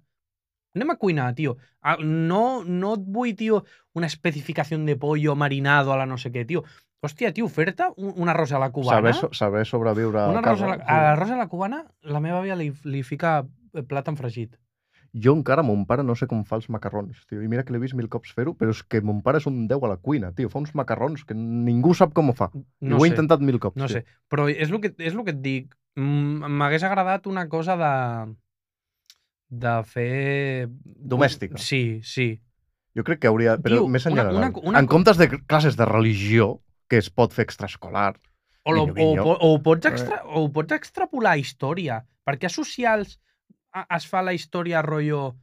Speaker 1: anem a cuinar, tio. Ah, No, no et vull, tio, una especificació de pollo marinado a la no sé què, tio. Hòstia, tio, fer-te un, un arròs a la cubana.
Speaker 2: Saber, so- saber sobreviure
Speaker 1: un
Speaker 2: a
Speaker 1: arròs
Speaker 2: casa.
Speaker 1: a la, a l'arròs a la cubana, la meva àvia li, li fica eh, plàtan fregit.
Speaker 2: Jo encara, mon pare, no sé com fa els macarrons, tio. I mira que l'he vist mil cops fer-ho, però és que mon pare és un 10 a la cuina, tio. Fa uns macarrons que ningú sap com ho fa. I
Speaker 1: No
Speaker 2: ho he
Speaker 1: sé,
Speaker 2: intentat mil cops,
Speaker 1: no
Speaker 2: tio.
Speaker 1: sé. Però és el que, és el que et dic. Mm, M'hagués agradat una cosa de de fer...
Speaker 2: Domèstica.
Speaker 1: Sí, sí.
Speaker 2: Jo crec que hauria... Però
Speaker 1: Tio,
Speaker 2: més en
Speaker 1: una-
Speaker 2: general.
Speaker 1: una- una-
Speaker 2: En comptes de classes de religió, que es pot fer extraescolar,
Speaker 1: O, lo,
Speaker 2: Vinyo,
Speaker 1: o,
Speaker 2: vinyo.
Speaker 1: po- o, ho pots
Speaker 2: Eh.
Speaker 1: extra, o ho pots extrapolar a història. Perquè a socials a, es fa la història rollo...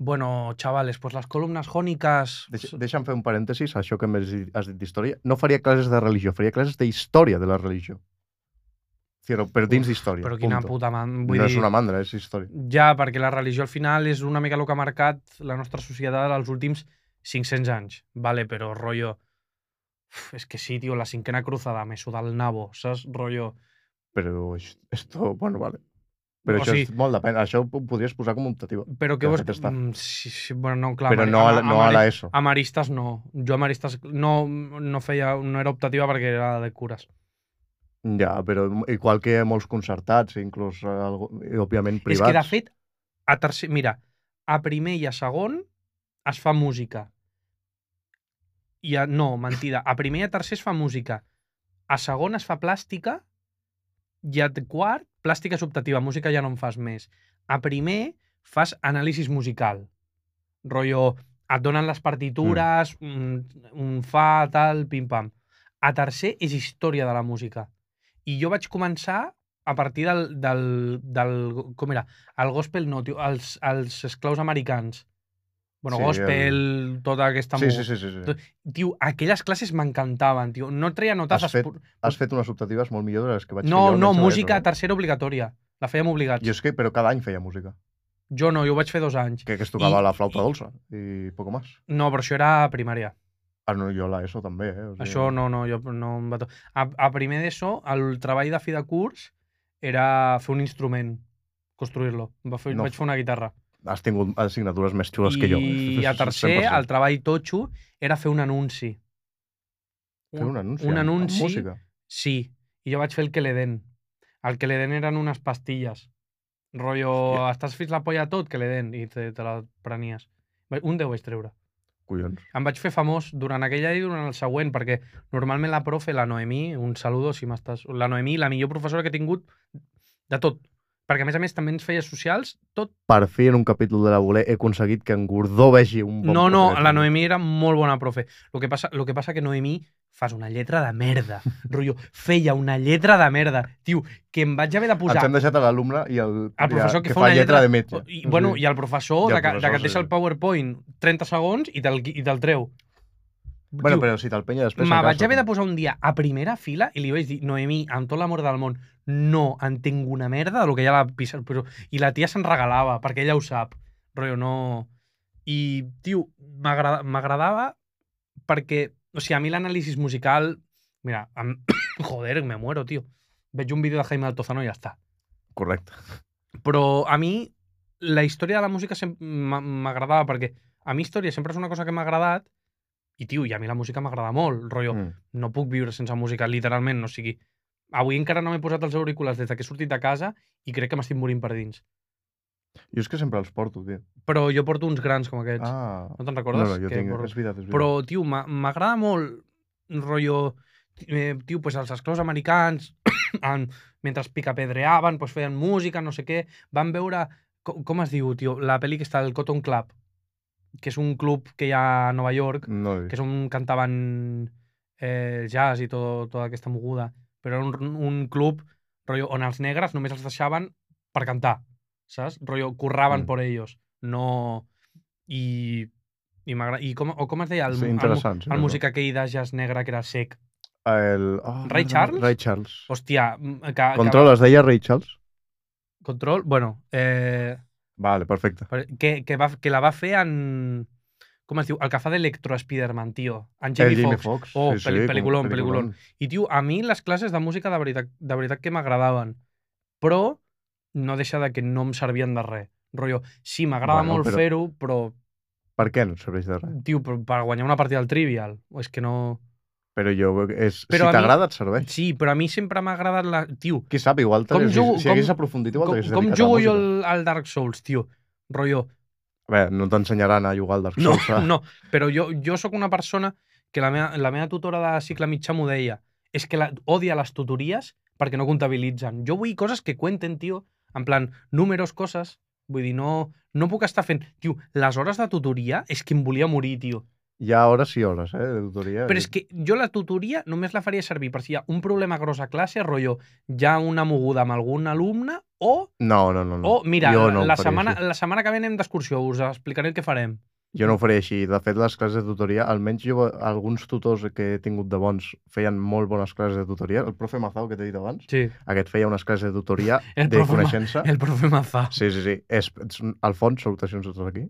Speaker 1: Bueno, chavales, pues las columnas jónicas...
Speaker 2: Deix, deixa'm fer un parèntesis, a això que m'has dit- has dit d'història. No faria classes de religió, faria classes d'història de la religió. Cierro, però dins d'història.
Speaker 1: Però quina
Speaker 2: punto.
Speaker 1: puta... Man... Vull
Speaker 2: No
Speaker 1: dir,
Speaker 2: és una mandra, és història.
Speaker 1: Ja, perquè la religió al final és una mica el que ha marcat la nostra societat als últims 500 anys. Vale, però rollo... Uf, és que sí, tio, la cinquena cruzada, me suda el nabo, saps? Rollo...
Speaker 2: Però és- esto, bueno, vale.
Speaker 1: O
Speaker 2: Però això
Speaker 1: sigui-
Speaker 2: és molt depèn. Això ho podries posar com a optativa.
Speaker 1: Però què
Speaker 2: Ja
Speaker 1: vols...
Speaker 2: fet està.
Speaker 1: Mm, Sí, sí, bueno, no, clar,
Speaker 2: Però
Speaker 1: mari-
Speaker 2: no a, la-
Speaker 1: ama-
Speaker 2: no a
Speaker 1: amari-
Speaker 2: la ESO.
Speaker 1: A Maristes no. Jo a Maristes no, no feia, no era optativa perquè era de cures.
Speaker 2: Ja, però igual que molts concertats, inclús, eh, algú- i, òbviament,
Speaker 1: És
Speaker 2: privats.
Speaker 1: que, de fet, a tercer... Mira, a primer i a segon es fa música. I a, no, mentida. A primer i a tercer es fa música. A segon es fa plàstica i a quart, plàstica és optativa. Música ja no en fas més. A primer fas anàlisis musical. Rollo et donen les partitures, mm. un, un fa, tal, pim-pam. A tercer és història de la música. I jo vaig començar a partir del... del, del com era? El gospel no, tio, els, els esclaus americans. Bueno,
Speaker 2: Sí,
Speaker 1: sí, gospel, el... tota aquesta...
Speaker 2: Sí,
Speaker 1: mo-
Speaker 2: sí, sí, sí, sí.
Speaker 1: Tot- Tio, aquelles classes m'encantaven, tio. No treia notes...
Speaker 2: Has fet
Speaker 1: espor-
Speaker 2: Has fet unes optatives molt millor de les que vaig fer
Speaker 1: No,
Speaker 2: jo, em
Speaker 1: no,
Speaker 2: sembla que
Speaker 1: música
Speaker 2: era-
Speaker 1: tercera obligatòria. La fèiem obligats.
Speaker 2: I és que, però cada any feia música.
Speaker 1: Jo no, jo ho vaig fer dos anys.
Speaker 2: Que, que es tocava
Speaker 1: I-
Speaker 2: la
Speaker 1: i-
Speaker 2: flauta dolça i poco más.
Speaker 1: No, però això era a primària.
Speaker 2: Ah, no, jo la ESO també, eh? O sigui,
Speaker 1: Això no, no, jo no em va... to- A, a primer d'ESO, el treball de fi de curs era fer un instrument, construir-lo. Em Va fer,
Speaker 2: No.
Speaker 1: Vaig fer una guitarra.
Speaker 2: Has tingut assignatures més xules
Speaker 1: I
Speaker 2: que jo.
Speaker 1: a tercer,
Speaker 2: 100%.
Speaker 1: el treball totxo era fer un anunci.
Speaker 2: Fer un anunci.
Speaker 1: un
Speaker 2: amb- amb
Speaker 1: anunci.
Speaker 2: Música.
Speaker 1: Sí, i jo vaig fer el que le den. El que le den eren unes pastilles. Rollo,
Speaker 2: Hòstia.
Speaker 1: estàs fins la polla a tot, que le den, i te, te la prenies. Va- Un deu vaig treure.
Speaker 2: Collons.
Speaker 1: Em vaig fer famós durant aquella i durant el següent, perquè normalment la profe, la Noemí, un saludo si m'estàs... La Noemí, la millor professora que he tingut de tot. Perquè, a més a més, també ens feia socials, tot...
Speaker 2: Per fi, en un capítol de la voler, he aconseguit que en Gordó vegi un bon...
Speaker 1: no, no,
Speaker 2: portret.
Speaker 1: la Noemí era molt bona profe. Lo que passa, lo que, passa que Noemí fas una lletra de merda. Rollo, feia una lletra de merda. Tio, que em vaig haver de
Speaker 2: Ens
Speaker 1: posar...
Speaker 2: hem deixat a l'alumne i el,
Speaker 1: el professor que,
Speaker 2: que
Speaker 1: fa una
Speaker 2: lletra, de metge.
Speaker 1: I, bueno, I el professor,
Speaker 2: I
Speaker 1: de,
Speaker 2: el
Speaker 1: que, de que
Speaker 2: professor,
Speaker 1: et deixa
Speaker 2: sí.
Speaker 1: el PowerPoint 30 segons i te'l i te'l treu.
Speaker 2: bueno
Speaker 1: Tio,
Speaker 2: però si te'l penya després...
Speaker 1: Me
Speaker 2: a casa.
Speaker 1: vaig haver de posar un dia a primera fila i li vaig dir, Noemí, amb tot l'amor del món, no entenc una merda del que hi ha a la pizza. Però... I la tia se'n regalava, perquè ella ho sap. Rollo, no... I, tio, m'agrada- m'agradava perquè... O sigui, a mi l'anàlisi musical... Mira, em... joder, me muero, tio. Veig un vídeo de Jaime Altozano i ja està.
Speaker 2: Correcte.
Speaker 1: Però a mi la història de la música sem- m'a- m'agradava perquè a mi història sempre és una cosa que m'ha agradat i, tio, i a mi la música m'agrada molt. Rollo,
Speaker 2: Mm.
Speaker 1: no puc viure sense música, literalment, no O sigui... Avui encara no m'he posat els auriculars des de que he sortit de casa i crec que m'estic morint per dins.
Speaker 2: Jo és que sempre els porto, tio.
Speaker 1: Però jo porto uns grans com aquests.
Speaker 2: Ah...
Speaker 1: no te'n
Speaker 2: No,
Speaker 1: recordes?
Speaker 2: no, jo
Speaker 1: Que
Speaker 2: tinc...
Speaker 1: por-
Speaker 2: És veritat, és veritat.
Speaker 1: Però, tio, m'a- m'agrada molt rotllo... Eh, tio, pues els esclaus americans, en, mentre picapedreaven, pues feien música, no sé què, van veure... Com, com es diu, tio? La pel·li que està al Cotton Club, que és un club que hi ha a Nova York,
Speaker 2: No ho he
Speaker 1: que
Speaker 2: vist.
Speaker 1: és on cantaven eh, jazz i tot, tota aquesta moguda. Però era un, un club rotllo, on els negres només els deixaven per cantar, saps? Rollo, curraven
Speaker 2: Mm.
Speaker 1: mm. por ellos. No... I... I, m'agrada- I com, o com es deia? El,
Speaker 2: Sí,
Speaker 1: el, el,
Speaker 2: interessant. sí,
Speaker 1: el
Speaker 2: no, no.
Speaker 1: músic aquell de jazz negre que era sec.
Speaker 2: El... Oh,
Speaker 1: Ray
Speaker 2: merda,
Speaker 1: Charles?
Speaker 2: Ray Charles.
Speaker 1: Hòstia, mm, que... que-
Speaker 2: Control, es deia Ray Charles?
Speaker 1: Control, bueno, eh,
Speaker 2: Vale, perfecte.
Speaker 1: per- que, que, va, que la va fer en... Com es diu? El que fa d'Electro-Spiderman, tio. En
Speaker 2: El
Speaker 1: Jamie, Foxx.
Speaker 2: Foxx.
Speaker 1: Oh,
Speaker 2: Eh, sí, sí,
Speaker 1: peli-
Speaker 2: com-
Speaker 1: peliculón, peliculón. I, tio, a mi les classes de música de veritat, de veritat que m'agradaven, però no deixa de que no em servien de res. Rollo, sí, m'agrada
Speaker 2: Bueno,
Speaker 1: bueno, molt
Speaker 2: però-
Speaker 1: però... fer-ho, però,
Speaker 2: Per què no serveix de res?
Speaker 1: tio, per, per guanyar una partida al Trivial. O És que no...
Speaker 2: Però jo... És,
Speaker 1: Però a mi-
Speaker 2: si t'agrada, et serveix.
Speaker 1: Sí, però a mi sempre m'ha agradat la... Tio,
Speaker 2: Qui sap, igual
Speaker 1: Com
Speaker 2: t'hagués-
Speaker 1: jugo-
Speaker 2: si hagués
Speaker 1: com-
Speaker 2: aprofundit, igual
Speaker 1: com,
Speaker 2: t'hagués
Speaker 1: com
Speaker 2: dedicat a la
Speaker 1: jugo jo
Speaker 2: música.
Speaker 1: al, al Dark Souls, tio? Rollo,
Speaker 2: A veure, no t'ensenyaran a jugar al Dark
Speaker 1: No,
Speaker 2: Souls. eh? clar.
Speaker 1: no, però jo, jo sóc una persona que la meva, la meva tutora de cicle mitjà m'ho deia. És que la, odia les tutories perquè no comptabilitzen. Jo vull coses que cuenten, tio, en plan, números, coses... Vull dir, no, no puc estar fent... Tio, les hores de tutoria és que em volia morir, tio.
Speaker 2: Hi ha hores i hores, eh, de tutoria.
Speaker 1: Però és que jo la tutoria només la faria servir per si hi ha un problema gros a classe, rotllo, ja una moguda amb algun alumne, o,
Speaker 2: No, no, no. no.
Speaker 1: o Oh, mira,
Speaker 2: jo no ho
Speaker 1: la,
Speaker 2: faria
Speaker 1: setmana,
Speaker 2: Així.
Speaker 1: la setmana que ve anem d'excursió, us explicaré el que farem.
Speaker 2: Jo no ho faré així. De fet, les classes de tutoria, almenys jo, alguns tutors que he tingut de bons feien molt bones classes de tutoria. El profe Mazao, que t'he dit abans,
Speaker 1: Sí,
Speaker 2: aquest feia unes classes de tutoria
Speaker 1: El
Speaker 2: de
Speaker 1: profe Ma-
Speaker 2: coneixença.
Speaker 1: el profe Mazà.
Speaker 2: Sí, sí, sí. És, és un- Alfons, salutacions a tots aquí.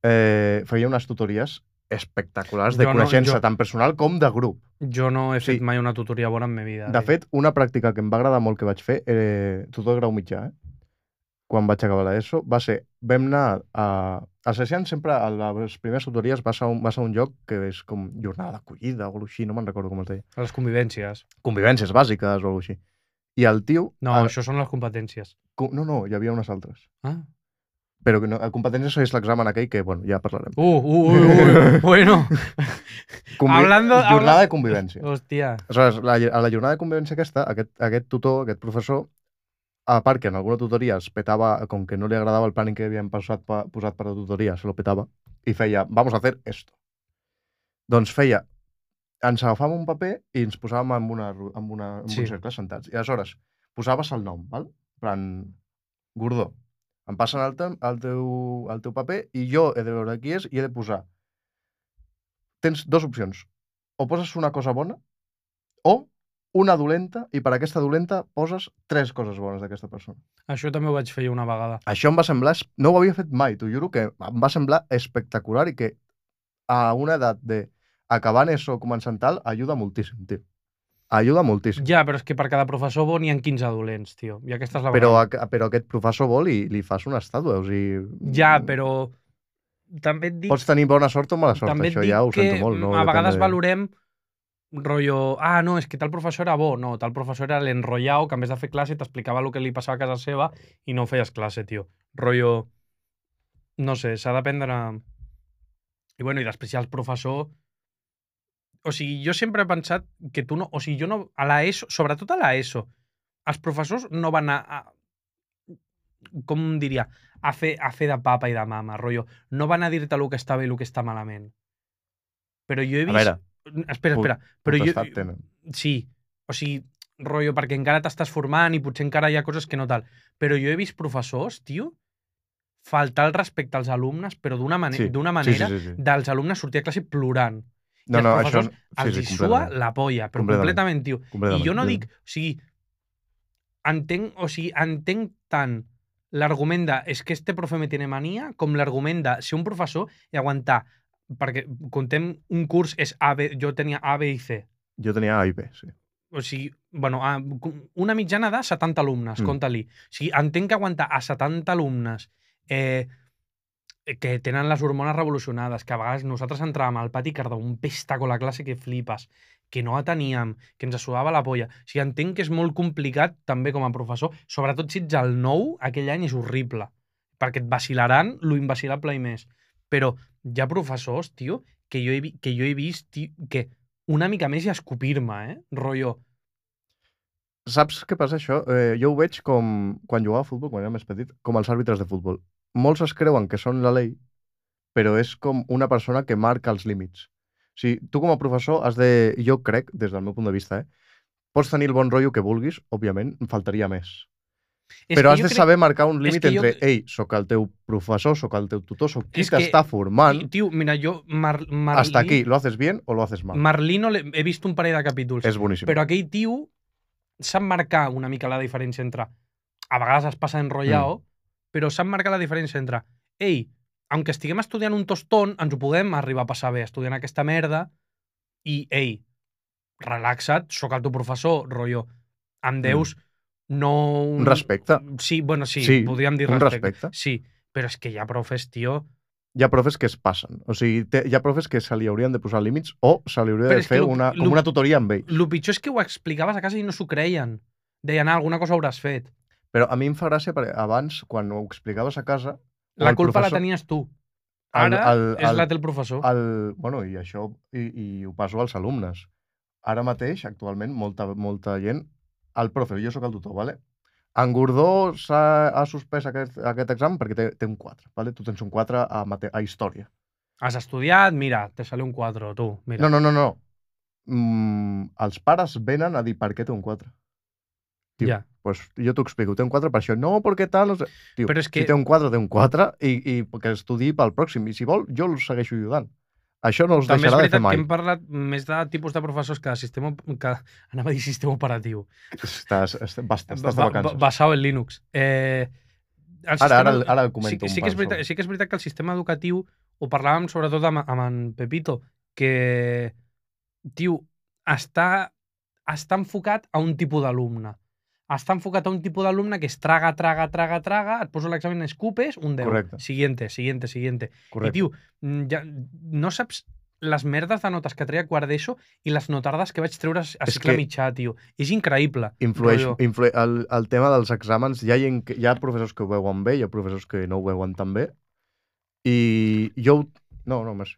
Speaker 2: Eh, feia unes tutories espectaculars de
Speaker 1: Jo no,
Speaker 2: coneixença,
Speaker 1: jo-
Speaker 2: tant personal com de grup.
Speaker 1: Jo no he
Speaker 2: Sí.
Speaker 1: fet mai una tutoria bona en ma vida. eh.
Speaker 2: De
Speaker 1: tio.
Speaker 2: fet, una pràctica que em va agradar molt que vaig fer, eh, tutor de grau mitjà, eh? quan vaig acabar l'ESO, va ser, vam anar a... A Seixant sempre a les primeres tutories vas a un, vas a un lloc que és com jornada d'acollida o alguna així, no me'n recordo com es deia.
Speaker 1: A les convivències.
Speaker 2: Convivències bàsiques o alguna així. I el tio...
Speaker 1: No,
Speaker 2: a-
Speaker 1: això són les competències.
Speaker 2: co- no, no, hi havia unes altres.
Speaker 1: Ah.
Speaker 2: Però que no, a competències és l'examen aquell que, bueno, ja parlarem.
Speaker 1: Uh, uh, uh, uh, bueno.
Speaker 2: Convi...
Speaker 1: Hablando-
Speaker 2: jornada
Speaker 1: habla-
Speaker 2: de convivència.
Speaker 1: Hòstia.
Speaker 2: Aleshores, la, a la jornada de convivència aquesta, aquest, aquest tutor, aquest professor, a part que en alguna tutoria es petava, com que no li agradava el planning que havien passat pa, posat per la tutoria, se lo petava, i feia, vamos a hacer esto. Doncs feia, ens agafàvem un paper i ens posàvem en, una, ru- en, una, en
Speaker 1: Sí.
Speaker 2: un cercle sentats. I aleshores, posaves el nom, val? En plan, Gordó, em passen el, te el, teu, el teu paper i jo he de veure qui és i he de posar. Tens dues opcions. O poses una cosa bona o una dolenta i per aquesta dolenta poses tres coses bones d'aquesta persona.
Speaker 1: Això també ho vaig fer jo una vegada.
Speaker 2: Això em va semblar... es- No ho havia fet mai, t'ho juro, que em va semblar espectacular i que a una edat de acabant ESO començant tal, ajuda moltíssim, tio. Ajuda moltíssim.
Speaker 1: Ja, però és que per cada professor bo n'hi ha 15 dolents, tio. I aquesta és la
Speaker 2: Però,
Speaker 1: veritat.
Speaker 2: a, però aquest professor vol i li fas una estàtua, o sigui...
Speaker 1: Ja, però... També et dic
Speaker 2: Pots tenir bona sort o mala sort,
Speaker 1: També et
Speaker 2: això
Speaker 1: dic
Speaker 2: ja ho
Speaker 1: que
Speaker 2: sento molt. No?
Speaker 1: a
Speaker 2: Depèn
Speaker 1: vegades
Speaker 2: de-
Speaker 1: valorem rotllo, ah, no, és que tal professor era bo, no, tal professor era l'enrotllao que en vez de fer classe t'explicava el que li passava a casa seva i no feies classe, tio. Rotllo, no sé, s'ha d'aprendre... I bueno, i després hi ha el professor... O sigui, jo sempre he pensat que tu no... O sigui, jo no... A la ESO, sobretot a la ESO, els professors no van a... a com diria? A fer, a fer de papa i de mama, rotllo. No van a dir-te el que està bé i el que està malament. Però jo he
Speaker 2: A
Speaker 1: vist...
Speaker 2: veure,
Speaker 1: Espera,
Speaker 2: Pu-
Speaker 1: espera. Però jo,
Speaker 2: potestat tenen.
Speaker 1: sí, o sigui, rotllo, perquè encara t'estàs formant i potser encara hi ha coses que no tal. Però jo he vist professors, tio, faltar el respecte als alumnes, però d'una mane
Speaker 2: Sí,
Speaker 1: d'una
Speaker 2: Sí,
Speaker 1: manera
Speaker 2: sí, sí, sí.
Speaker 1: dels alumnes sortir a classe plorant. I
Speaker 2: No,
Speaker 1: els
Speaker 2: no, això...
Speaker 1: professors Els hi sua
Speaker 2: completament,
Speaker 1: la polla, però completament,
Speaker 2: Completament.
Speaker 1: tio. I
Speaker 2: completament.
Speaker 1: jo no dic... O sigui, entenc, o sigui, entenc tant l'argument de és que este profe me tiene manía com l'argument de ser un professor i aguantar perquè contem un curs és A, B, jo tenia A, B i C
Speaker 2: Jo tenia A i B, sí.
Speaker 1: o sigui, bueno, a, una mitjana de 70 alumnes,
Speaker 2: Mm.
Speaker 1: mm. compte-li. O sigui, entenc que aguantar a 70 alumnes eh, que tenen les hormones revolucionades, que a vegades nosaltres entràvem al pati que un pestaco a la classe que flipes, que no la teníem, que ens sudava la polla. O sigui, entenc que és molt complicat també com a professor, sobretot si ets el nou, aquell any és horrible, perquè et vacilaran lo invacilable i més. Però hi ha professors, tio, que jo he, vi- que jo he vist tio, que una mica més i a escopir-me, eh? Rollo,
Speaker 2: Saps què passa això? Eh, jo ho veig com, quan jugava a futbol, quan era més petit, com els àrbitres de futbol. Molts es creuen que són la llei, però és com una persona que marca els límits. O sigui, tu com a professor has de... Jo crec, des del meu punt de vista, eh, pots tenir el bon rotllo que vulguis, òbviament, em faltaria més.
Speaker 1: És
Speaker 2: però
Speaker 1: que
Speaker 2: has
Speaker 1: jo
Speaker 2: de
Speaker 1: crec-
Speaker 2: saber marcar un límit
Speaker 1: que jo-
Speaker 2: entre, ei, sóc el teu professor, sóc el teu tutor, sóc qui
Speaker 1: És que-
Speaker 2: t'està formant,
Speaker 1: Ti- Tio, mira, jo Mar Marlí...
Speaker 2: hasta aquí, lo haces bien o lo haces mal.
Speaker 1: Marlí no l'he- he vist un parell de capítols.
Speaker 2: És boníssim.
Speaker 1: Però aquell tio sap marcar una mica la diferència entre... A vegades es passa enrotllado,
Speaker 2: Mm.
Speaker 1: però sap marcar la diferència entre ei, aunque estiguem estudiant un tostón, ens ho podem arribar a passar bé estudiant aquesta merda i, ei, relaxa't, sóc el teu professor, rotllo, em deus no...
Speaker 2: Mm. Un respecte.
Speaker 1: Sí, bueno, sí,
Speaker 2: Sí,
Speaker 1: podríem dir
Speaker 2: un
Speaker 1: respecte.
Speaker 2: respecte.
Speaker 1: Sí, però és que hi ha profes, tio,
Speaker 2: hi ha profes que es passen. O sigui, té, hi ha profes que se li haurien de posar límits o se li hauria
Speaker 1: Però
Speaker 2: de
Speaker 1: és que
Speaker 2: fer
Speaker 1: lo-
Speaker 2: una, com
Speaker 1: lo-
Speaker 2: una tutoria amb ell.
Speaker 1: El pitjor és que ho explicaves a casa i no s'ho creien. Deien, ah, alguna cosa hauràs fet.
Speaker 2: Però a mi em fa gràcia perquè abans, quan ho explicaves a casa...
Speaker 1: La
Speaker 2: el
Speaker 1: culpa
Speaker 2: professor-
Speaker 1: la tenies tu.
Speaker 2: El-
Speaker 1: Ara
Speaker 2: el-
Speaker 1: és
Speaker 2: el-
Speaker 1: la del professor.
Speaker 2: El, bueno, i això i, i ho passo als alumnes. Ara mateix, actualment, molta, molta gent... El profe, jo sóc el tutor, vale? En Gordó s'ha ha suspès aquest, aquest examen perquè té, té un 4, vale? Tu tens un 4 a, mate, a història.
Speaker 1: Has estudiat, mira, te sale un 4, tu. Mira.
Speaker 2: No, no, no, no. Mm, els pares venen a dir per què té un 4. tio.
Speaker 1: Ja.
Speaker 2: pues jo t'ho explico, té un 4 per això. No, perquè tal... No sé. Tio,
Speaker 1: Però és que-
Speaker 2: si té un 4, té un 4 i, i que estudi pel pròxim. I si vol, jo el segueixo ajudant. Això no us
Speaker 1: També és
Speaker 2: deixarà de
Speaker 1: veritat
Speaker 2: fer
Speaker 1: que
Speaker 2: mai.
Speaker 1: hem parlat més de tipus de professors que de sistema... Que, anava a dir sistema operatiu.
Speaker 2: Estàs, estàs, basta, estàs de
Speaker 1: Ba- ba-
Speaker 2: vacances.
Speaker 1: Basado en Linux. Eh, el
Speaker 2: ara, ara,
Speaker 1: sistema-
Speaker 2: ara el comento
Speaker 1: sí, sí, que és veritat, sí que és veritat que el sistema educatiu, ho parlàvem sobretot amb, amb en Pepito, que, tio, està, està enfocat a un tipus d'alumne. Està enfocat a un tipus d'alumne que es traga, traga, traga, traga, et poso l'examen, escupes, un 10.
Speaker 2: Correcte.
Speaker 1: Siguiente, siguiente, siguiente.
Speaker 2: Correcte.
Speaker 1: I, tio, mm, ja, no saps les merdes de notes que treia a quart d'ESO i les notardes que vaig treure a
Speaker 2: És
Speaker 1: cicle
Speaker 2: que-
Speaker 1: mitjà, tio. És increïble.
Speaker 2: Influeix,
Speaker 1: Rotllo.
Speaker 2: influeix el, el tema dels exàmens. Hi ha, gent, que- hi ha professors que ho veuen bé, hi ha professors que no ho veuen tan bé. I jo... ho- No, no, més.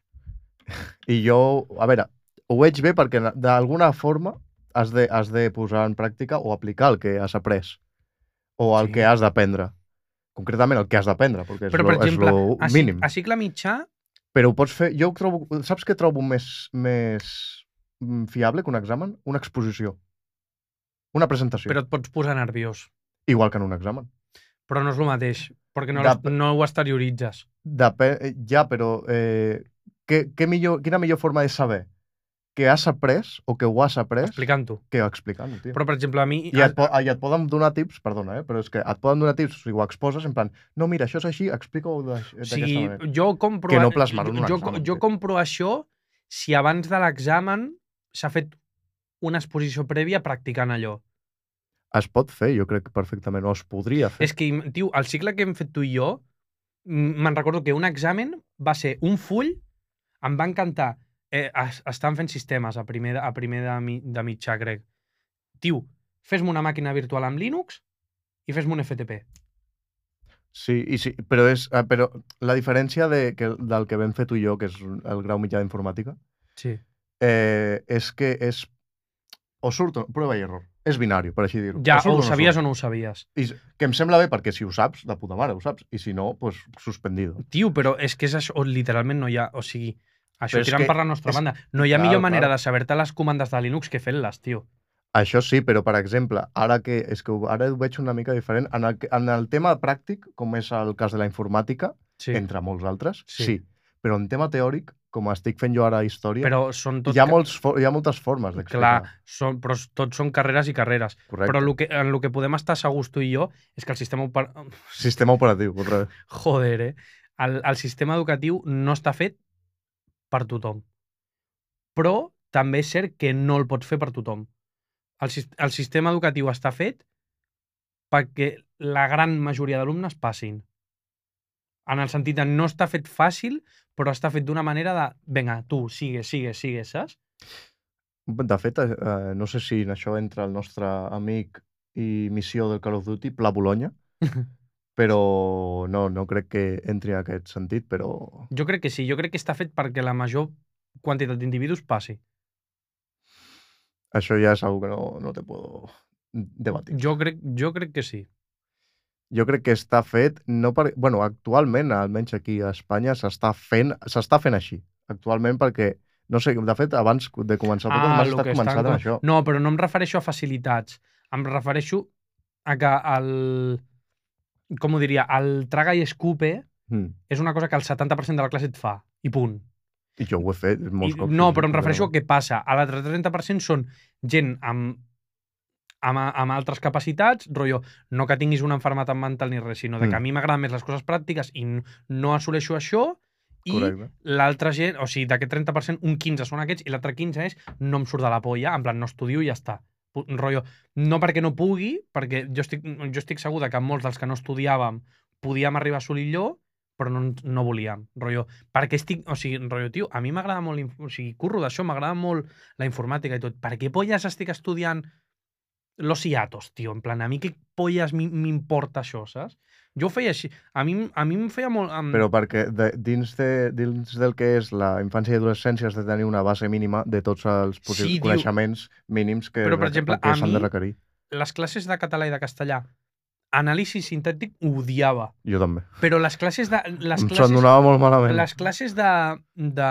Speaker 2: I jo... A veure, ho veig bé perquè na- d'alguna forma has de, has de posar en pràctica o aplicar el que has après o el
Speaker 1: Sí.
Speaker 2: sí. que has d'aprendre. Concretament el que has d'aprendre, perquè és,
Speaker 1: Però,
Speaker 2: lo,
Speaker 1: per exemple,
Speaker 2: és lo
Speaker 1: a, ci-
Speaker 2: mínim.
Speaker 1: a cicle mitjà
Speaker 2: Però ho pots fer... Jo ho trobo... Saps què trobo més, més mm, fiable que un examen? Una exposició. Una presentació.
Speaker 1: Però et pots posar nerviós.
Speaker 2: Igual que en un examen.
Speaker 1: Però no és el mateix, perquè no,
Speaker 2: De-
Speaker 1: l'es- no ho exterioritzes.
Speaker 2: Depèn... eh, Ja, però... Eh, què, què millor, quina millor forma de saber que has après o que ho has après
Speaker 1: Explicant-ho.
Speaker 2: que explicant-ho, tio.
Speaker 1: Però, per exemple, a mi...
Speaker 2: I et, po I et poden donar tips, perdona, eh? però és que et poden donar tips, o sigui, ho exposes en plan, no, mira, això és així, explica-ho d'aix-
Speaker 1: O
Speaker 2: d'aquesta
Speaker 1: sigui,
Speaker 2: manera.
Speaker 1: jo compro...
Speaker 2: Que no plasmar-ho en un
Speaker 1: jo,
Speaker 2: examen,
Speaker 1: jo
Speaker 2: tio.
Speaker 1: compro això si abans de l'examen s'ha fet una exposició prèvia practicant allò.
Speaker 2: Es pot fer, jo crec que perfectament, o es podria fer.
Speaker 1: És que, tio, el cicle que hem fet tu i jo, m- me'n recordo que un examen va ser un full, em van cantar... Eh, es, estan fent sistemes a primer, de- a primer de, mi, de mitjà, crec. Tio, fes-me una màquina virtual amb Linux i fes-me un FTP.
Speaker 2: Sí, i sí, però, és, ah, però la diferència de, que, del que vam fer tu i jo, que és el grau mitjà d'informàtica,
Speaker 1: Sí.
Speaker 2: eh, és que és... O surt, o, prova i error. És binari, per així dir-ho.
Speaker 1: Ja, o ho
Speaker 2: no
Speaker 1: sabies
Speaker 2: surt.
Speaker 1: o no ho sabies.
Speaker 2: I, s- que em sembla bé, perquè si ho saps, de puta mare, ho saps. I si no, pues, suspendido.
Speaker 1: Tio, però és que és això, on literalment no hi ha... O sigui, això
Speaker 2: Però és
Speaker 1: tirant
Speaker 2: que
Speaker 1: per la nostra
Speaker 2: és-
Speaker 1: banda. No hi ha
Speaker 2: Clar,
Speaker 1: millor
Speaker 2: clar.
Speaker 1: manera de saber-te les comandes de Linux que fent-les, tio.
Speaker 2: Això sí, però per exemple, ara que és que ho- ara ho veig una mica diferent. En el, que- en el tema pràctic, com és el cas de la informàtica,
Speaker 1: Sí.
Speaker 2: entre molts altres,
Speaker 1: Sí.
Speaker 2: sí. sí. Però en tema teòric, com estic fent jo ara història,
Speaker 1: Però són tot...
Speaker 2: hi, ha
Speaker 1: ca-
Speaker 2: molts, fo- hi ha moltes formes d'explicar.
Speaker 1: Clar, són, però tots són carreres i carreres.
Speaker 2: Correcte.
Speaker 1: Però lo que, en el que podem estar segurs tu i jo és que el sistema... Oper...
Speaker 2: Sistema operatiu, otra vez.
Speaker 1: Joder, eh? El, el sistema educatiu no està fet per tothom. Però també és cert que no el pots fer per tothom. El, sis- el sistema educatiu està fet perquè la gran majoria d'alumnes passin. En el sentit de no està fet fàcil, però està fet d'una manera de... Vinga, tu, sigue, sigue, sigue, saps?
Speaker 2: De fet, eh, eh, no sé si en això entra el nostre amic i missió del Call of Duty, Pla Bologna, però no, no crec que entri en aquest sentit, però...
Speaker 1: Jo crec que sí, jo crec que està fet perquè la major quantitat d'individus passi.
Speaker 2: Això ja és algo que no, no te puedo debatir.
Speaker 1: Jo crec, jo crec que sí.
Speaker 2: Jo crec que està fet, no per... bueno, actualment, almenys aquí a Espanya, s'està fent, s'està fent així. Actualment perquè, no sé, de fet, abans de començar tot, ah,
Speaker 1: lo
Speaker 2: està
Speaker 1: que
Speaker 2: començant
Speaker 1: estan
Speaker 2: amb això.
Speaker 1: com- No, però no em refereixo a facilitats. Em refereixo a que el... Com ho diria? El traga i escupe
Speaker 2: Mm.
Speaker 1: és una cosa que el 70% de la classe et fa. I punt.
Speaker 2: I jo ho he fet molts
Speaker 1: I,
Speaker 2: cops. eh,
Speaker 1: no,
Speaker 2: sí,
Speaker 1: però em refereixo a què passa. A l'altre 30% són gent amb, amb, amb altres capacitats, rotllo, no que tinguis una malaltia mental ni res, sinó de que
Speaker 2: Mm.
Speaker 1: a mi m'agraden més les coses pràctiques i n- no assoleixo això, i
Speaker 2: Correcte.
Speaker 1: l'altra gent, o sigui, d'aquest 30%, un 15 són aquests i l'altre 15 és no em surt de la polla, en plan, no estudio i ja està. Pu- Rotllo, no perquè no pugui, perquè jo estic, jo estic segura que molts dels que no estudiàvem podíem arribar a assolir allò, però no, ens- no volíem. Rotllo, perquè estic... O sigui, rotllo, tio, a mi m'agrada molt... la inf- O sigui, curro d'això, m'agrada molt la informàtica i tot. Per què polles estic estudiant los hiatos, tio? En plan, a mi què polles mi- m'importa això, saps? Jo ho feia així. A mi, a mi em feia molt... Amb...
Speaker 2: Però perquè de, dins, de, dins del que és la infància i adolescència has de tenir una base mínima de tots els possibles
Speaker 1: Sí, tio.
Speaker 2: coneixements mínims que,
Speaker 1: Però, per
Speaker 2: re-
Speaker 1: exemple,
Speaker 2: que
Speaker 1: a
Speaker 2: s'han de
Speaker 1: mi-
Speaker 2: requerir.
Speaker 1: les classes de català i de castellà, anàlisi sintètic ho odiava,
Speaker 2: Jo també.
Speaker 1: però les classes de les
Speaker 2: Em se'n
Speaker 1: classes,
Speaker 2: donava molt malament.
Speaker 1: les classes de de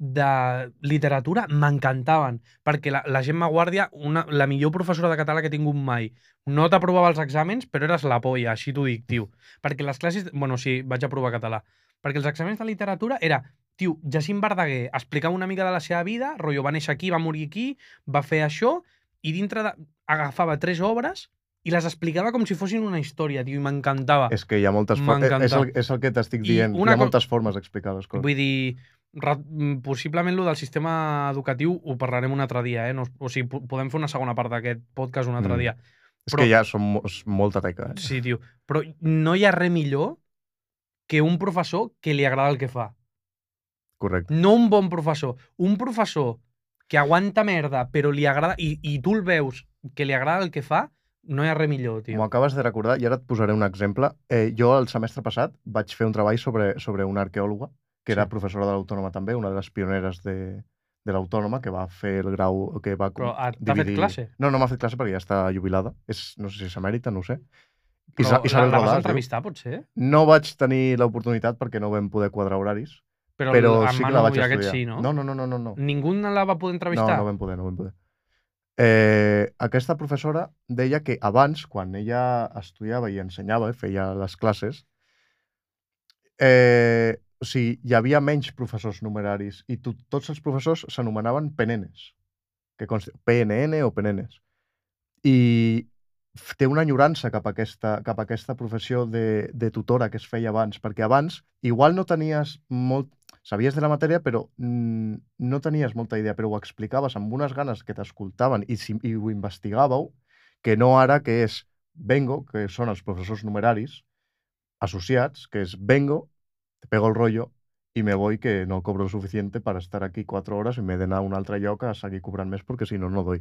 Speaker 1: de literatura m'encantaven, perquè la, la Gemma Guàrdia, una, la millor professora de català que he tingut mai, no t'aprovava els exàmens, però eres la polla, així t'ho dic, tio. Perquè les classes... Bueno, sí, vaig aprovar català. Perquè els exàmens de literatura era, tio, Jacint Verdaguer explicava una mica de la seva vida, rotllo, va néixer aquí, va morir aquí, va fer això, i dintre de... agafava tres obres i les explicava com si fossin una història, tio, i m'encantava.
Speaker 2: És que hi ha moltes formes.
Speaker 1: Ah, M'encanta.
Speaker 2: És, el, és el que t'estic
Speaker 1: I
Speaker 2: dient.
Speaker 1: una
Speaker 2: Hi ha
Speaker 1: co-
Speaker 2: moltes formes d'explicar les coses.
Speaker 1: Vull dir, ra- mm, possiblement lo del sistema educatiu ho parlarem un altre dia, eh? No, us- o sigui, po- podem fer una segona part d'aquest podcast un altre
Speaker 2: Mm.
Speaker 1: dia.
Speaker 2: És
Speaker 1: però-
Speaker 2: que ja som mo- és molta teca. Eh?
Speaker 1: Sí, tio. Però no hi ha res millor que un professor que li agrada el que fa.
Speaker 2: Correcte.
Speaker 1: No un bon professor. Un professor que aguanta merda, però li agrada... I, i tu el veus que li agrada el que fa, no hi ha res millor,
Speaker 2: M'ho
Speaker 1: tio.
Speaker 2: acabes de recordar i ara et posaré un exemple. Eh, jo el semestre passat vaig fer un treball sobre, sobre una arqueòloga que era
Speaker 1: Sí.
Speaker 2: professora de l'Autònoma també, una de les pioneres de, de l'Autònoma que va fer el grau... que va com-
Speaker 1: Però ah, t'ha fet classe?
Speaker 2: No, no m'ha fet classe perquè ja està jubilada. És, no sé si és emèrita, no ho sé. Isa
Speaker 1: Però la,
Speaker 2: Isabel
Speaker 1: la vas
Speaker 2: Rodàs, diu.
Speaker 1: entrevistar, potser?
Speaker 2: No vaig tenir l'oportunitat perquè no vam poder quadrar horaris,
Speaker 1: Però,
Speaker 2: però,
Speaker 1: el- en
Speaker 2: sí que
Speaker 1: Manu
Speaker 2: la vaig
Speaker 1: i
Speaker 2: estudiar.
Speaker 1: aquest sí, no?
Speaker 2: no, no, no, no, no. No,
Speaker 1: Ningú no la va poder
Speaker 2: no,
Speaker 1: entrevistar?
Speaker 2: no vam poder, no vam poder. Eh, aquesta professora deia que abans, quan ella estudiava i ensenyava, eh, feia les classes, eh, o sigui, hi havia menys professors numeraris i to tots els professors s'anomenaven penenes, que consti PNN o penenes. I f- té una enyorança cap a aquesta, cap a aquesta professió de, de tutora que es feia abans, perquè abans igual no tenies molt... Sabies de la matèria, però mm, no tenies molta idea, però ho explicaves amb unes ganes que t'escoltaven i, si, i ho investigàveu, que no ara que és Vengo, que són els professors numeraris associats, que és Vengo, te pego el rollo y me voy que no cobro lo suficiente para estar aquí cuatro horas y me den a un altre lloc a seguir cobrant més perquè si no, no doy.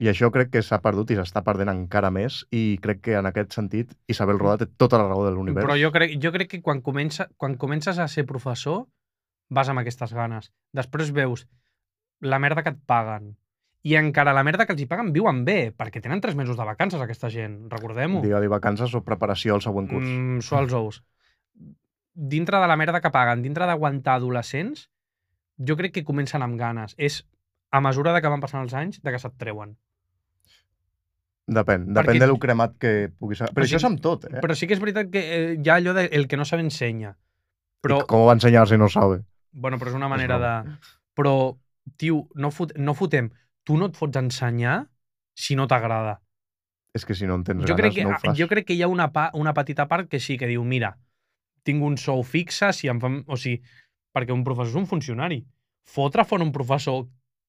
Speaker 2: I això crec que s'ha perdut i s'està perdent encara més i crec que en aquest sentit Isabel Rodà té tota la raó de l'univers.
Speaker 1: Mm. Però jo crec, jo crec que quan, comença, quan comences a ser professor vas amb aquestes ganes. Després veus la merda que et paguen. I encara la merda que els hi paguen viuen bé, perquè tenen tres mesos de vacances aquesta gent, recordem-ho.
Speaker 2: Digue-li vacances o preparació al següent curs. Mm.
Speaker 1: Mm, suar els ous. Dintre de la merda que paguen, dintre d'aguantar adolescents, jo crec que comencen amb ganes. És a mesura de que van passant els anys, de que se't treuen.
Speaker 2: Depèn, depèn
Speaker 1: perquè-
Speaker 2: de lo cremat que puguis... Però,
Speaker 1: Però
Speaker 2: però
Speaker 1: sí-
Speaker 2: això és amb tot, eh?
Speaker 1: Però sí que és veritat que eh, hi ha allò de el que no sabe ensenya. Però
Speaker 2: Però... Com ho va ensenyar si no sabe?
Speaker 1: Bueno, però és una manera
Speaker 2: broma.
Speaker 1: de... Però, tio, no, fot... no fotem... Tu no et fots ensenyar si no t'agrada.
Speaker 2: És que si no en tens
Speaker 1: Jo, crec
Speaker 2: ganes
Speaker 1: que,
Speaker 2: no ho fas.
Speaker 1: jo crec que hi ha una, pa, una petita part que sí, que diu, mira, tinc un sou fixe, si em fan... O sigui, perquè un professor és un funcionari. Fotre fora un professor